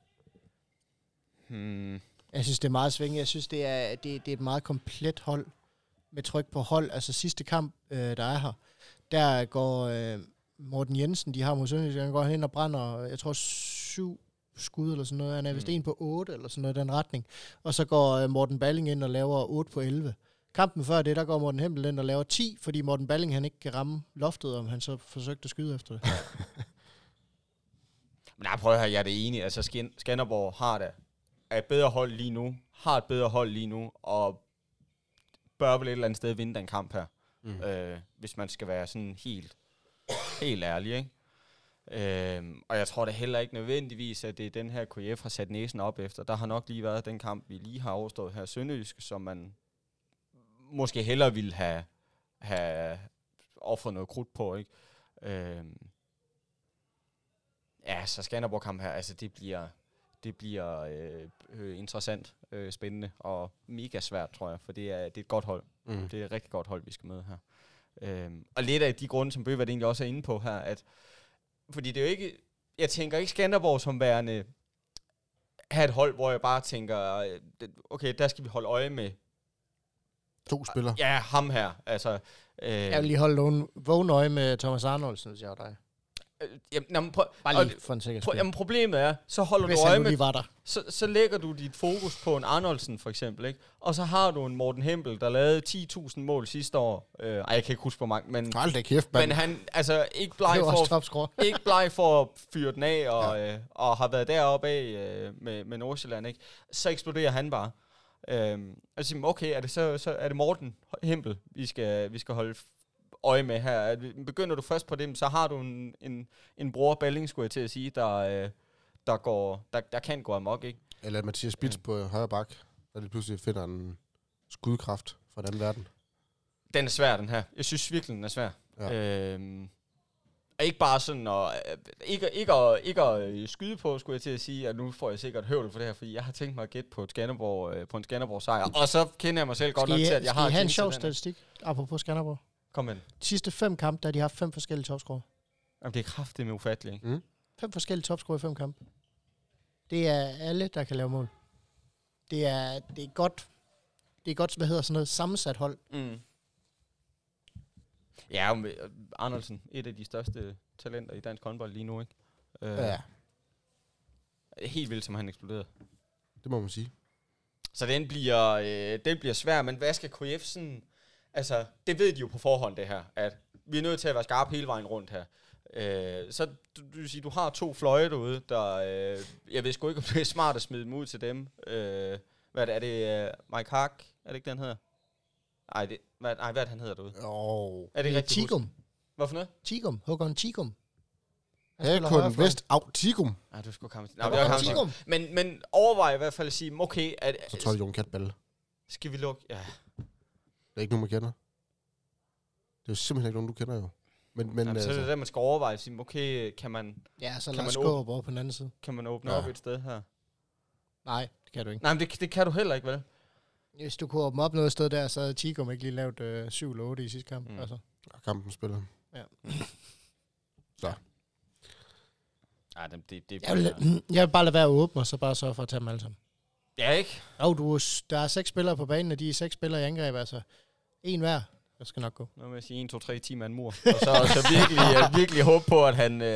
Speaker 3: Hmm.
Speaker 2: Jeg synes, det er meget svingende. Jeg synes, det er, det, det er et meget komplet hold med tryk på hold. Altså sidste kamp, øh, der er her, der går øh, Morten Jensen, de har mod Sønderjysk, han går hen og brænder, jeg tror, syv skud eller sådan noget. Han er vist
Speaker 3: Mm.
Speaker 2: mm. en på 8 eller sådan noget i den retning. Og så går øh, Morten Balling ind og laver 8 på 11. Kampen før det, der går Morten Hempel ind og laver 10, fordi Morten Balling han ikke kan ramme loftet, om han så forsøgte at skyde efter det.
Speaker 3: Men nej, prøv at høre, jeg er det enig. Altså, Skin- Skanderborg har det. Er et bedre hold lige nu. Har et bedre hold lige nu. Og bør vel et eller andet sted vinde den kamp her.
Speaker 1: Mm.
Speaker 3: øh, hvis man skal være sådan helt, helt ærlig, ikke? Øhm, og jeg tror da heller ikke nødvendigvis, at det er den her KF har sat næsen op efter. Der har nok lige været den kamp, vi lige har overstået her i Sønderjysk, som man måske hellere ville have, have offret noget krudt på, ikke? Øhm, ja, så Skanderborg-kamp her, altså det bliver, det bliver øh, øh, interessant, øh, spændende og mega svært, tror jeg, for det er, det er et godt hold.
Speaker 1: Mm.
Speaker 3: Det er et rigtig godt hold, vi skal møde her. Øhm, og lidt af de grunde, som Bøvert egentlig også er inde på her, at fordi det er jo ikke, jeg tænker ikke Skanderborg som værende have et hold, hvor jeg bare tænker, øh, det- okay, der skal vi holde øje med,
Speaker 1: To spillere. Ja.
Speaker 3: ja, ham her, altså, øh,
Speaker 2: Jeg vil lige holde nogen vågen øje med Thomas Arnoldsen, hvis jeg var dig.
Speaker 3: øh, jamen, jamen, prøv,
Speaker 2: Bare
Speaker 3: og,
Speaker 2: lige for en sikker
Speaker 3: prøv,
Speaker 2: skyld.
Speaker 3: jamen, problemet er, så holder
Speaker 2: Hvis
Speaker 3: du øje
Speaker 2: han nu
Speaker 3: med
Speaker 2: lige var der.
Speaker 3: så, så lægger du dit fokus på en Arnoldsen for eksempel, ikke? Og så har du en Morten Hempel, der lavede 10.000 mål sidste år. Øh, ej, jeg kan ikke huske, hvor mange, men,
Speaker 1: Hold da kæft, mand.
Speaker 3: men han, altså, ikke bleg
Speaker 2: Det var
Speaker 3: for,
Speaker 2: også topscore.
Speaker 3: ikke bleg for at fyre den af, og, ja. øh, og har været deroppe af øh, med, med Nordsjælland, ikke? så eksploderer han bare. Øhm, og så siger man, okay, er det, så, så er det Morten Hempel, vi skal, vi skal holde f- øje med her. At vi- Begynder du først på dem, så har du en, en, en bror Balling, skulle jeg til at sige, der, øh, der, går, der, der kan gå amok, ikke?
Speaker 1: Eller Mathias Spitz på højre bak, der lige pludselig finder en skudkraft fra den anden verden.
Speaker 3: Den er svær, den her. Jeg synes virkelig, den er svær.
Speaker 1: Ja.
Speaker 3: Ja. Øhm, og ikke bare sådan at, øh, ikke, ikke, at, ikke at øh, skyde på, skulle jeg til at sige, at nu får jeg sikkert høvl for det her, fordi jeg har tænkt mig at gætte på, et Skanderborg, øh, på en Skanderborg-sejr. Og så kender jeg mig selv godt
Speaker 2: Skal I,
Speaker 3: nok til, at jeg
Speaker 2: skal
Speaker 3: har
Speaker 2: I have en
Speaker 3: jinxet
Speaker 2: sjov
Speaker 3: den her.
Speaker 2: statistik, apropos Skanderborg?
Speaker 3: Kom ind.
Speaker 2: De sidste fem kampe, der har de haft fem forskellige topscorer.
Speaker 3: Jamen, det er kraftigt med ufatteligt. ikke?
Speaker 2: Fem forskellige topscorer i fem kampe. Det er alle, der kan lave mål. Det er, det er godt, det er godt, hvad hedder sådan noget, sammensat hold.
Speaker 3: Mm. Ja, men, øh, Andersen, et af de største talenter i dansk håndbold lige nu, ikke? Øh,
Speaker 1: Ja,
Speaker 3: Helt vildt, som han eksploderede.
Speaker 1: det må man sige.
Speaker 3: Så den bliver, øh, den bliver svær, men hvad skal KF sådan... Altså, det ved de jo på forhånd, det her, at vi er nødt til at være skarpe hele vejen rundt her. Øh, så du, du, vil sige, du har to fløje derude, der... Øh, jeg ved sgu ikke, om det er smart at smide dem ud til dem. Øh, hvad er det? Er det øh, Mike Hark? Er det ikke, den hedder? Nej, det, hvad, nej, hvad er det, han hedder derude?
Speaker 1: Åh, oh,
Speaker 3: Er det,
Speaker 2: Det er
Speaker 3: rigtigt? husket?
Speaker 2: Øh, Tigum.
Speaker 3: Hvorfor noget?
Speaker 2: Tigum. Håkon Tigum. Han spiller
Speaker 1: Hakon
Speaker 2: højrefløj.
Speaker 1: Vest Autigum.
Speaker 3: Nej, du skulle komme.
Speaker 2: Der
Speaker 3: Nej,
Speaker 2: var
Speaker 3: det var
Speaker 1: Kamp-
Speaker 3: kamp.
Speaker 2: Kamtigum.
Speaker 3: Men, men overvej i hvert fald at sige, okay, at,
Speaker 1: Så tror jeg, Jon Katballe.
Speaker 3: skal vi lukke? Ja.
Speaker 1: Det er ikke nogen, man kender. Det er jo simpelthen ikke nogen, du kender jo. Men, men
Speaker 3: Men, Jamen, så
Speaker 1: altså,
Speaker 3: er det
Speaker 1: det
Speaker 3: der, man skal overveje at sige, okay, kan man,
Speaker 2: Ja, så
Speaker 3: Kan
Speaker 2: Lars
Speaker 3: man åbne-
Speaker 2: Skåb over på den anden side.
Speaker 3: kan man åbne
Speaker 1: Ja.
Speaker 3: ja. op et sted her?
Speaker 2: Nej, det kan du ikke.
Speaker 3: Nej, men det, det kan du heller ikke, vel?
Speaker 2: Hvis du kunne åbne op noget sted der, så havde Tigum ikke lige lavet øh, 7 eller 8 i sidste kamp. Mm.
Speaker 3: Mm.
Speaker 2: Altså.
Speaker 1: er kampen spiller.
Speaker 3: Nej, det, det, det
Speaker 2: Jeg, vil, jeg vil bare lade være at åbne, og så bare sørge for at tage dem alle sammen.
Speaker 3: Ja, ikke?
Speaker 2: Jo, du, er s- der er seks spillere på banen, og de er seks spillere i angreb, altså. En hver. Det skal nok gå.
Speaker 3: Nu med at sige 1, 2, 3 timer en mur. Og så, så virkelig, øh, virkelig håbe på, at han... Øh,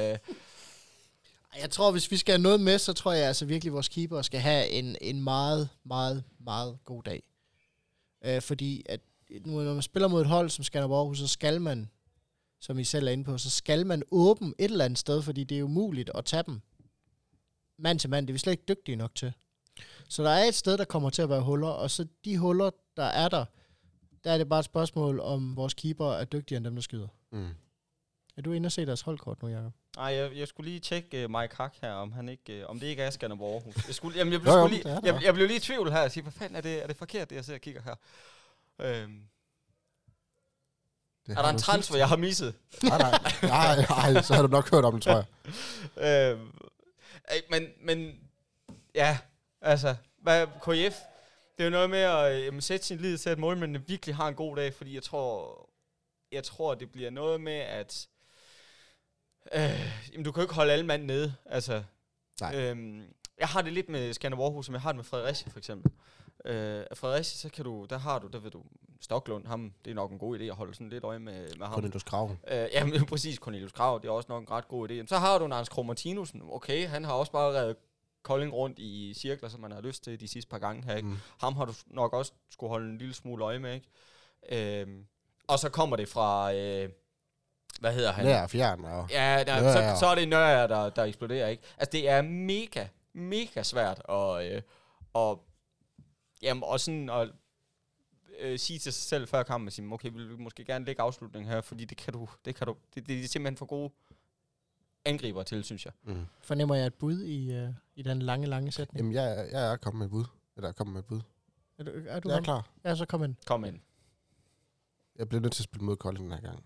Speaker 2: Ej, Jeg tror, hvis vi skal have noget med, så tror jeg altså virkelig, at vores keeper skal have en, en meget, meget, meget god dag. Øh, fordi at nu, når man spiller mod et hold som Skanderborg Aarhus, så skal man, som I selv er inde på, så skal man åbne et eller andet sted, fordi det er umuligt at tage dem mand til mand. Det er vi slet ikke dygtige nok til. Så der er et sted, der kommer til at være huller, og så de huller, der er der, der er det bare et spørgsmål, om vores keeper er dygtigere end dem, der skyder.
Speaker 1: Mm.
Speaker 2: Er du inde og se deres holdkort nu, Jacob?
Speaker 3: nej, jeg, jeg skulle lige tjekke uh, Mike Hack her, om, han ikke, uh, om det ikke er Skanderborg Aarhus. Jeg, skulle, jamen, jeg, blev,
Speaker 1: Jo, jo,
Speaker 3: skulle
Speaker 2: det er
Speaker 3: lige,
Speaker 2: det
Speaker 3: jeg, jeg blev lige i tvivl her. Jeg siger, hvad fanden er det, er det forkert, det jeg sidder og kigger her? Øhm,
Speaker 1: Det
Speaker 3: er der en transfer, jeg har misset?
Speaker 1: Nej, nej, nej, nej, så har du nok hørt om det, tror jeg.
Speaker 3: Øh, øh, men, men ja, altså, hvad, KF, det er jo noget med at øh, jamen, sætte sin lid til, at målmændene virkelig har en god dag, fordi jeg tror, jeg tror det bliver noget med, at øh, jamen, du kan jo ikke holde alle mand nede. Altså,
Speaker 1: Nej.
Speaker 3: Øhm, jeg har det lidt med Skanderborg Aarhus, som jeg har det med Fredericia for eksempel. Øh, at Fredericia, så kan du, der har du, der ved du, Stoklund, ham, det er nok en god idé at holde sådan lidt øje med, med ham.
Speaker 1: Cornelius Krav.
Speaker 3: Øh, jamen præcis, Cornelius Krav, det er også nok en ret god idé. Jamen, Så har du en Anders Kromartinussen. Okay, han har også bare reddet Kolding rundt i cirkler, som man har lyst til de sidste par gange her. Ikke?
Speaker 1: Mm.
Speaker 3: Mm. Ham har du nok også skulle holde en lille smule øje med. Ikke? Øhm, og så kommer det fra, øh, hvad hedder han?
Speaker 1: Lær og fjern. Og...
Speaker 3: Ja, der,
Speaker 1: Nørager.
Speaker 3: så, så er det nørre, der, der eksploderer, ikke? Altså, det er mega, mega svært at, øh, og, jamen, og sådan at øh, sige til sig selv før kampen, at sige, okay, vil vi måske gerne lægge afslutningen her, fordi det kan du, det kan du, det, det er simpelthen for gode angriber til, synes jeg.
Speaker 1: Mm.
Speaker 2: Fornemmer jeg et bud i, øh, i den lange, lange sætning?
Speaker 1: Jamen, jeg, er- jeg er kommet med et bud. Eller jeg er kommet med et bud.
Speaker 2: Er du, er du
Speaker 1: Jeg
Speaker 2: ham?
Speaker 1: er klar.
Speaker 2: Ja, så kom ind.
Speaker 3: Kom ind.
Speaker 1: Jeg bliver nødt til at spille mod Kolding den her gang.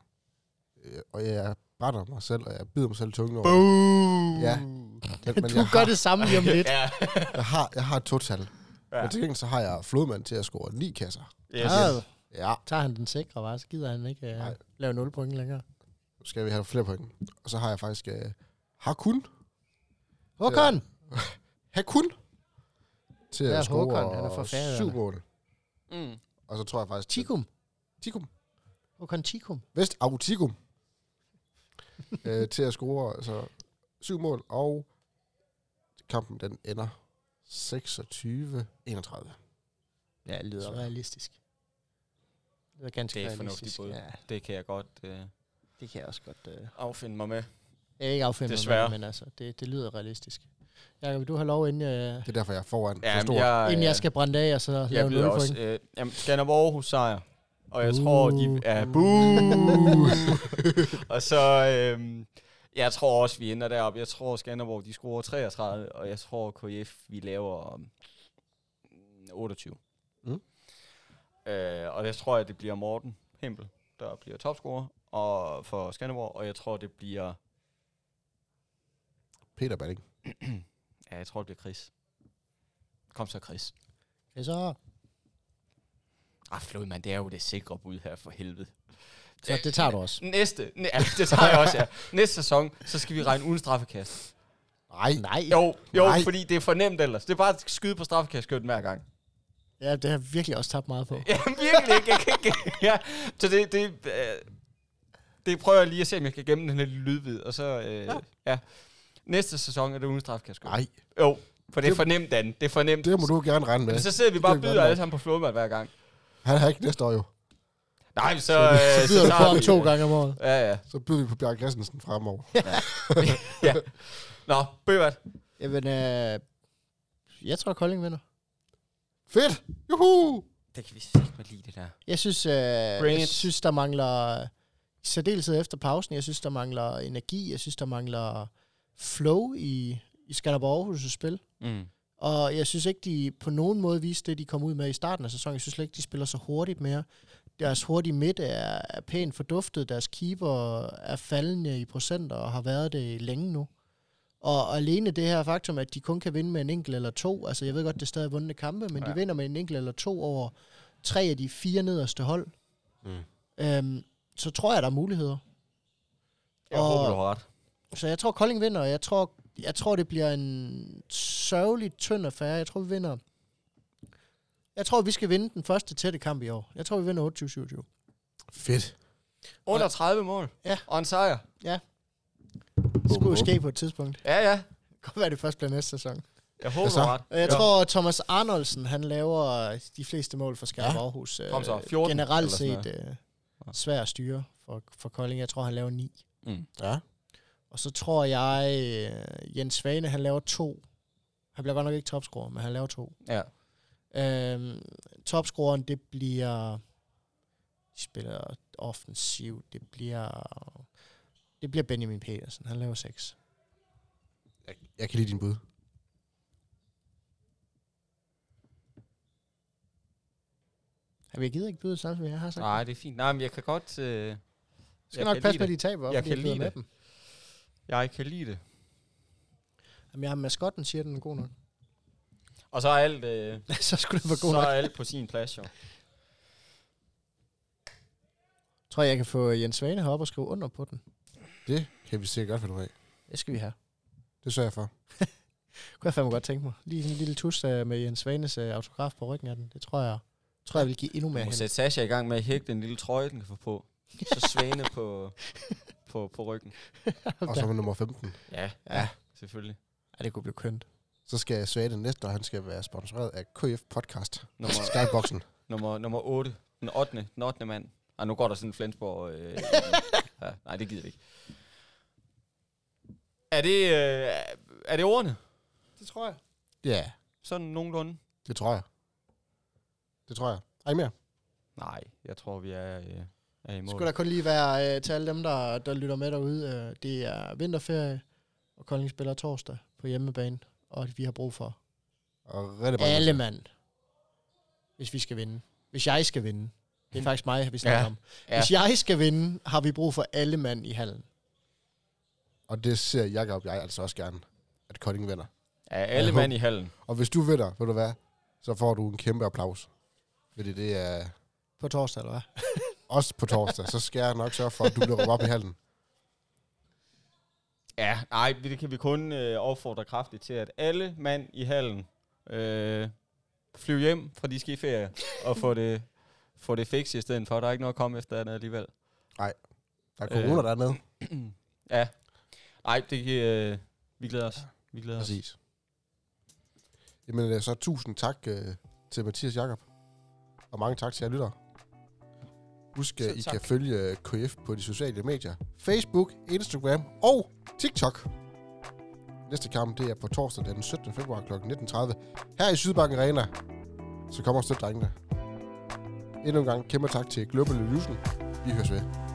Speaker 1: Øh, Og jeg brænder mig selv, og jeg bider mig selv i tungen over. det.
Speaker 3: Boom!
Speaker 1: Ja. Men, men
Speaker 2: Du
Speaker 1: jeg,
Speaker 2: gør
Speaker 1: har,
Speaker 2: det samme lige om lidt.
Speaker 3: Ja.
Speaker 1: jeg, har, jeg har et total. Ja.
Speaker 3: Ja.
Speaker 1: Men til gengæld så har jeg flodmand til at score ni kasser.
Speaker 3: Yes.
Speaker 2: Ah,
Speaker 1: Ja,
Speaker 2: tager han den sikre, var, så gider han ikke øh,
Speaker 1: Nej.
Speaker 2: lave 0 point længere.
Speaker 1: nu skal vi have flere point. Og så har jeg faktisk øh, Hakun.
Speaker 2: Håkon!
Speaker 1: Hakun! Til
Speaker 2: Hvad er
Speaker 1: at score
Speaker 2: Håkon? Han er fra Færøerne.
Speaker 1: syv mål.
Speaker 3: Mm.
Speaker 1: Og så tror jeg faktisk...
Speaker 2: Tikum.
Speaker 1: Tikum.
Speaker 2: Håkon Tikum.
Speaker 1: Vest Autikum øh, til at score altså, syv mål, og kampen den ender 26-31.
Speaker 2: Ja, det lyder realistisk. Det lyder ganske
Speaker 3: Det er et
Speaker 2: realistisk.
Speaker 3: fornuftigt bud.
Speaker 2: Ja,
Speaker 3: Det kan jeg godt øh,
Speaker 2: det kan jeg også godt... Øh.
Speaker 3: affinde mig med.
Speaker 2: Jeg er ikke affinde mig med
Speaker 3: Desværre.
Speaker 2: det, men altså, det, det lyder realistisk. Jakob, vil du har lov, inden jeg,
Speaker 1: Det er derfor, jeg er foran. Ja,
Speaker 3: Jamen,
Speaker 1: så stor.
Speaker 3: jeg,
Speaker 2: inden
Speaker 3: øh,
Speaker 2: jeg skal brænde af, og så lave
Speaker 3: Jeg
Speaker 2: 0
Speaker 3: ved
Speaker 2: point.
Speaker 3: også, øh, jamen, Skanderborg Aarhus sejr. Og jeg
Speaker 2: Uh.
Speaker 3: tror, de er Uh. og så, øh, jeg tror også, vi ender deroppe. Jeg tror, Skanderborg, de scorer 33, og jeg tror, KF, vi laver mm, 28.
Speaker 1: Mm.
Speaker 3: Øh, og jeg tror, at det bliver Morten Hempel, der bliver topscorer og for Skanderborg, og jeg tror, det bliver,
Speaker 1: Peter Balling.
Speaker 3: ja, jeg tror, det bliver Chris. Kom så, Chris.
Speaker 2: Ja, så,
Speaker 3: Ah, Flodman, det er jo det sikre bud her for helvede.
Speaker 2: så det tager du også.
Speaker 3: Næste, næ- ja, det tager jeg også, ja. Næste sæson, så skal vi regne uden straffekast.
Speaker 1: Nej,
Speaker 2: Nej.
Speaker 3: Jo, jo,
Speaker 1: Nej.
Speaker 3: Nej. fordi det er for nemt ellers. Det er bare at skyde på straffekastskytten hver gang.
Speaker 2: Ja, det har jeg virkelig også tabt meget på.
Speaker 3: Ja, virkelig ikke. Jeg kan ikke. Ja, så det, det, øh, det prøver jeg lige at se, om jeg kan gemme den her lille lydvid, og så, øh, ja. ja. Næste sæson er det uden straffekastskytten.
Speaker 1: nej.
Speaker 3: Jo, for det er for nemt, Dan. Det er for nemt.
Speaker 1: Det må du gerne regne med.
Speaker 3: Så sidder vi bare
Speaker 1: Det
Speaker 3: og
Speaker 1: kan
Speaker 3: byder
Speaker 1: godt
Speaker 3: alle sammen på flodmand hver gang.
Speaker 1: Han har ikke næste år jo.
Speaker 3: Nej, så... Øh,
Speaker 2: Altså, Så byder du på
Speaker 3: tager
Speaker 2: om
Speaker 3: vi-
Speaker 2: to gange om året.
Speaker 3: Ja, ja.
Speaker 1: Så byder vi på Bjarke Christensen fremover.
Speaker 3: ja. Nå, Bøvert.
Speaker 2: Jamen, øh, jeg tror, Kolding vinder.
Speaker 1: Fedt! Juhu!
Speaker 3: Det kan vi sikkert godt lide, det der.
Speaker 2: Jeg synes, øh,
Speaker 3: Bring
Speaker 2: jeg
Speaker 3: it.
Speaker 2: synes der mangler, i særdeleshed efter pausen, jeg synes, der mangler energi, jeg synes, der mangler flow i, i Skanderborg Aarhus' spil.
Speaker 3: Mm.
Speaker 2: Og jeg synes ikke, de på nogen måde viste det, de kom ud med i starten af sæsonen. Jeg synes slet ikke, de spiller så hurtigt mere. Deres hurtige midt er, er pænt forduftet. Deres keeper er faldende i procenter og har været det længe nu. Og, og alene det her faktum, at de kun kan vinde med en enkelt eller to. Altså jeg ved godt, det er stadig vundne kampe, men ja.
Speaker 3: Ja.
Speaker 2: de vinder med en enkelt eller to over tre af de fire nederste hold.
Speaker 1: Mm.
Speaker 2: Øhm, så tror jeg, der er muligheder.
Speaker 3: Jeg
Speaker 2: Og-
Speaker 3: håber, du har ret.
Speaker 2: Så jeg tror, Kolding vinder, og jeg tror, jeg tror det bliver en sørgelig tynd affære. Jeg tror, vi vinder... Jeg tror, vi skal vinde den første tætte kamp i år. Jeg tror, vi vinder 28-27.
Speaker 1: Fedt.
Speaker 3: Under 30 mål.
Speaker 2: Ja.
Speaker 3: Og en sejr.
Speaker 2: Det skulle jo
Speaker 1: Bum, bum.
Speaker 2: ske på et tidspunkt.
Speaker 3: Ja, ja.
Speaker 2: Det kan godt være, det først bliver næste sæson.
Speaker 3: Jeg håber,
Speaker 1: så?
Speaker 3: du har ret.
Speaker 2: Og jeg
Speaker 3: Ja.
Speaker 2: tror, Thomas Arnoldsen, han laver øh, de fleste mål for Skarp Aarhus. øh,
Speaker 3: Kom så, 14
Speaker 2: Generelt
Speaker 3: eller sådan
Speaker 2: set øh, svær at styre for, for Kolding. Jeg tror, han laver 9.
Speaker 3: Mm.
Speaker 1: Ja.
Speaker 2: Og så tror jeg, øh, Jens Svane, han laver to. Han bliver godt nok ikke topscorer, men han laver to.
Speaker 3: Ja.
Speaker 2: Øhm, topscoreren, det bliver... De spiller offensivt. Det bliver... Det bliver Benjamin Petersen. Han laver 6.
Speaker 1: Jeg, jeg kan lide din bud.
Speaker 2: Jeg gider ikke byde sammen, som jeg har sagt.
Speaker 3: Nej, det er fint. Nej, men jeg kan godt... Øh,
Speaker 2: jeg skal nok
Speaker 3: kan
Speaker 2: passe
Speaker 3: lide
Speaker 2: på, at
Speaker 3: det.
Speaker 2: de taber,
Speaker 3: Jeg
Speaker 2: fordi
Speaker 3: kan
Speaker 2: byder
Speaker 3: lide
Speaker 2: med
Speaker 3: det.
Speaker 2: dem.
Speaker 3: Jeg kan lide det.
Speaker 2: Jamen, jeg har maskotten, siger den er god nok.
Speaker 3: Og så er alt, øh,
Speaker 2: så skulle det være god
Speaker 3: så
Speaker 2: nok.
Speaker 3: er alt på sin plads, jo.
Speaker 2: Tror jeg, jeg kan få Jens Svane herop og skrive under på den.
Speaker 1: Det kan vi sikkert godt finde ud af.
Speaker 2: Det skal vi have.
Speaker 1: Det sørger jeg for.
Speaker 2: Kunne jeg fandme godt tænke mig. Lige sådan en lille tus øh, med Jens Svanes øh, autograf på ryggen af den. Det tror jeg, tror jeg vil give endnu mere
Speaker 3: Du må
Speaker 2: hen.
Speaker 3: sætte Sasha i gang med at hægte en lille trøje, den kan få på. Så svane på, på, på ryggen.
Speaker 1: Og så med nummer 15.
Speaker 3: Ja,
Speaker 2: Ja.
Speaker 3: selvfølgelig.
Speaker 2: ja, det kunne blive kønt.
Speaker 1: Så skal jeg svage det næste, og han skal være sponsoreret af KF Podcast.
Speaker 3: Nummer,
Speaker 1: Skyboxen.
Speaker 3: nummer, nummer 8. Den 8. Den 8. mand. Ej, nu går der sådan en Flensborg... Øh, i- ja, nej, det gider vi ikke. Er det, øh, er det ordene?
Speaker 2: Det tror jeg.
Speaker 1: Ja,
Speaker 3: Sådan nogenlunde?
Speaker 1: det tror jeg. Det tror jeg. Ej mere.
Speaker 3: Nej, jeg tror, vi er, øh, er i mål.
Speaker 2: Skulle der kun lige være øh, til alle dem, der, der lytter med derude. Øh, det er vinterferie, og Kolding spiller torsdag på hjemmebane. Og vi har brug for
Speaker 1: Og rigtig mange.
Speaker 2: alle mand, hvis vi skal vinde. Hvis jeg skal vinde. Det er faktisk mig, vi snakker
Speaker 3: Mhm.
Speaker 2: ja. om.
Speaker 3: Ja. Ja.
Speaker 2: Hvis jeg skal vinde, har vi brug for alle mand i hallen.
Speaker 1: Og det ser Jakob og jeg altså også gerne, at Kolding vinder.
Speaker 3: Er alle
Speaker 1: Jeg
Speaker 3: mand i hallen?
Speaker 1: Og hvis du vinder, ved du hvad, så får du en kæmpe applaus. Fordi det er
Speaker 2: På torsdag, eller hvad?
Speaker 1: også på torsdag, så skal jeg nok sørge for, at du bliver råbt op i halen.
Speaker 3: Ja, nej, vi- det kan vi kun øh, opfordre kraftigt til, at alle mand i hallen øh, flyver hjem fra de skiferier og få det, få det fikset i stedet for. Der er ikke noget at komme efter andet alligevel.
Speaker 1: Der er corona
Speaker 3: Øh.
Speaker 1: øh. dernede.
Speaker 3: Ja, nej, det kan, øh, vi glæder os. Vi glæder os.
Speaker 1: Præcis. Jamen, øh, så tusind tak øh, til Mathias Jakob Og mange tak til jer lyttere. Husk, at
Speaker 3: Selv
Speaker 1: I
Speaker 3: tak.
Speaker 1: kan følge øh, KF på de sociale medier. Facebook, Instagram og TikTok. Næste kamp, det er på torsdag den 17. februar kl. 19.30 her i Sydbanken Arena. Så kommer og støt drengene. Endnu en gang kæmpe tak til Global Illusion. Vi høres ved.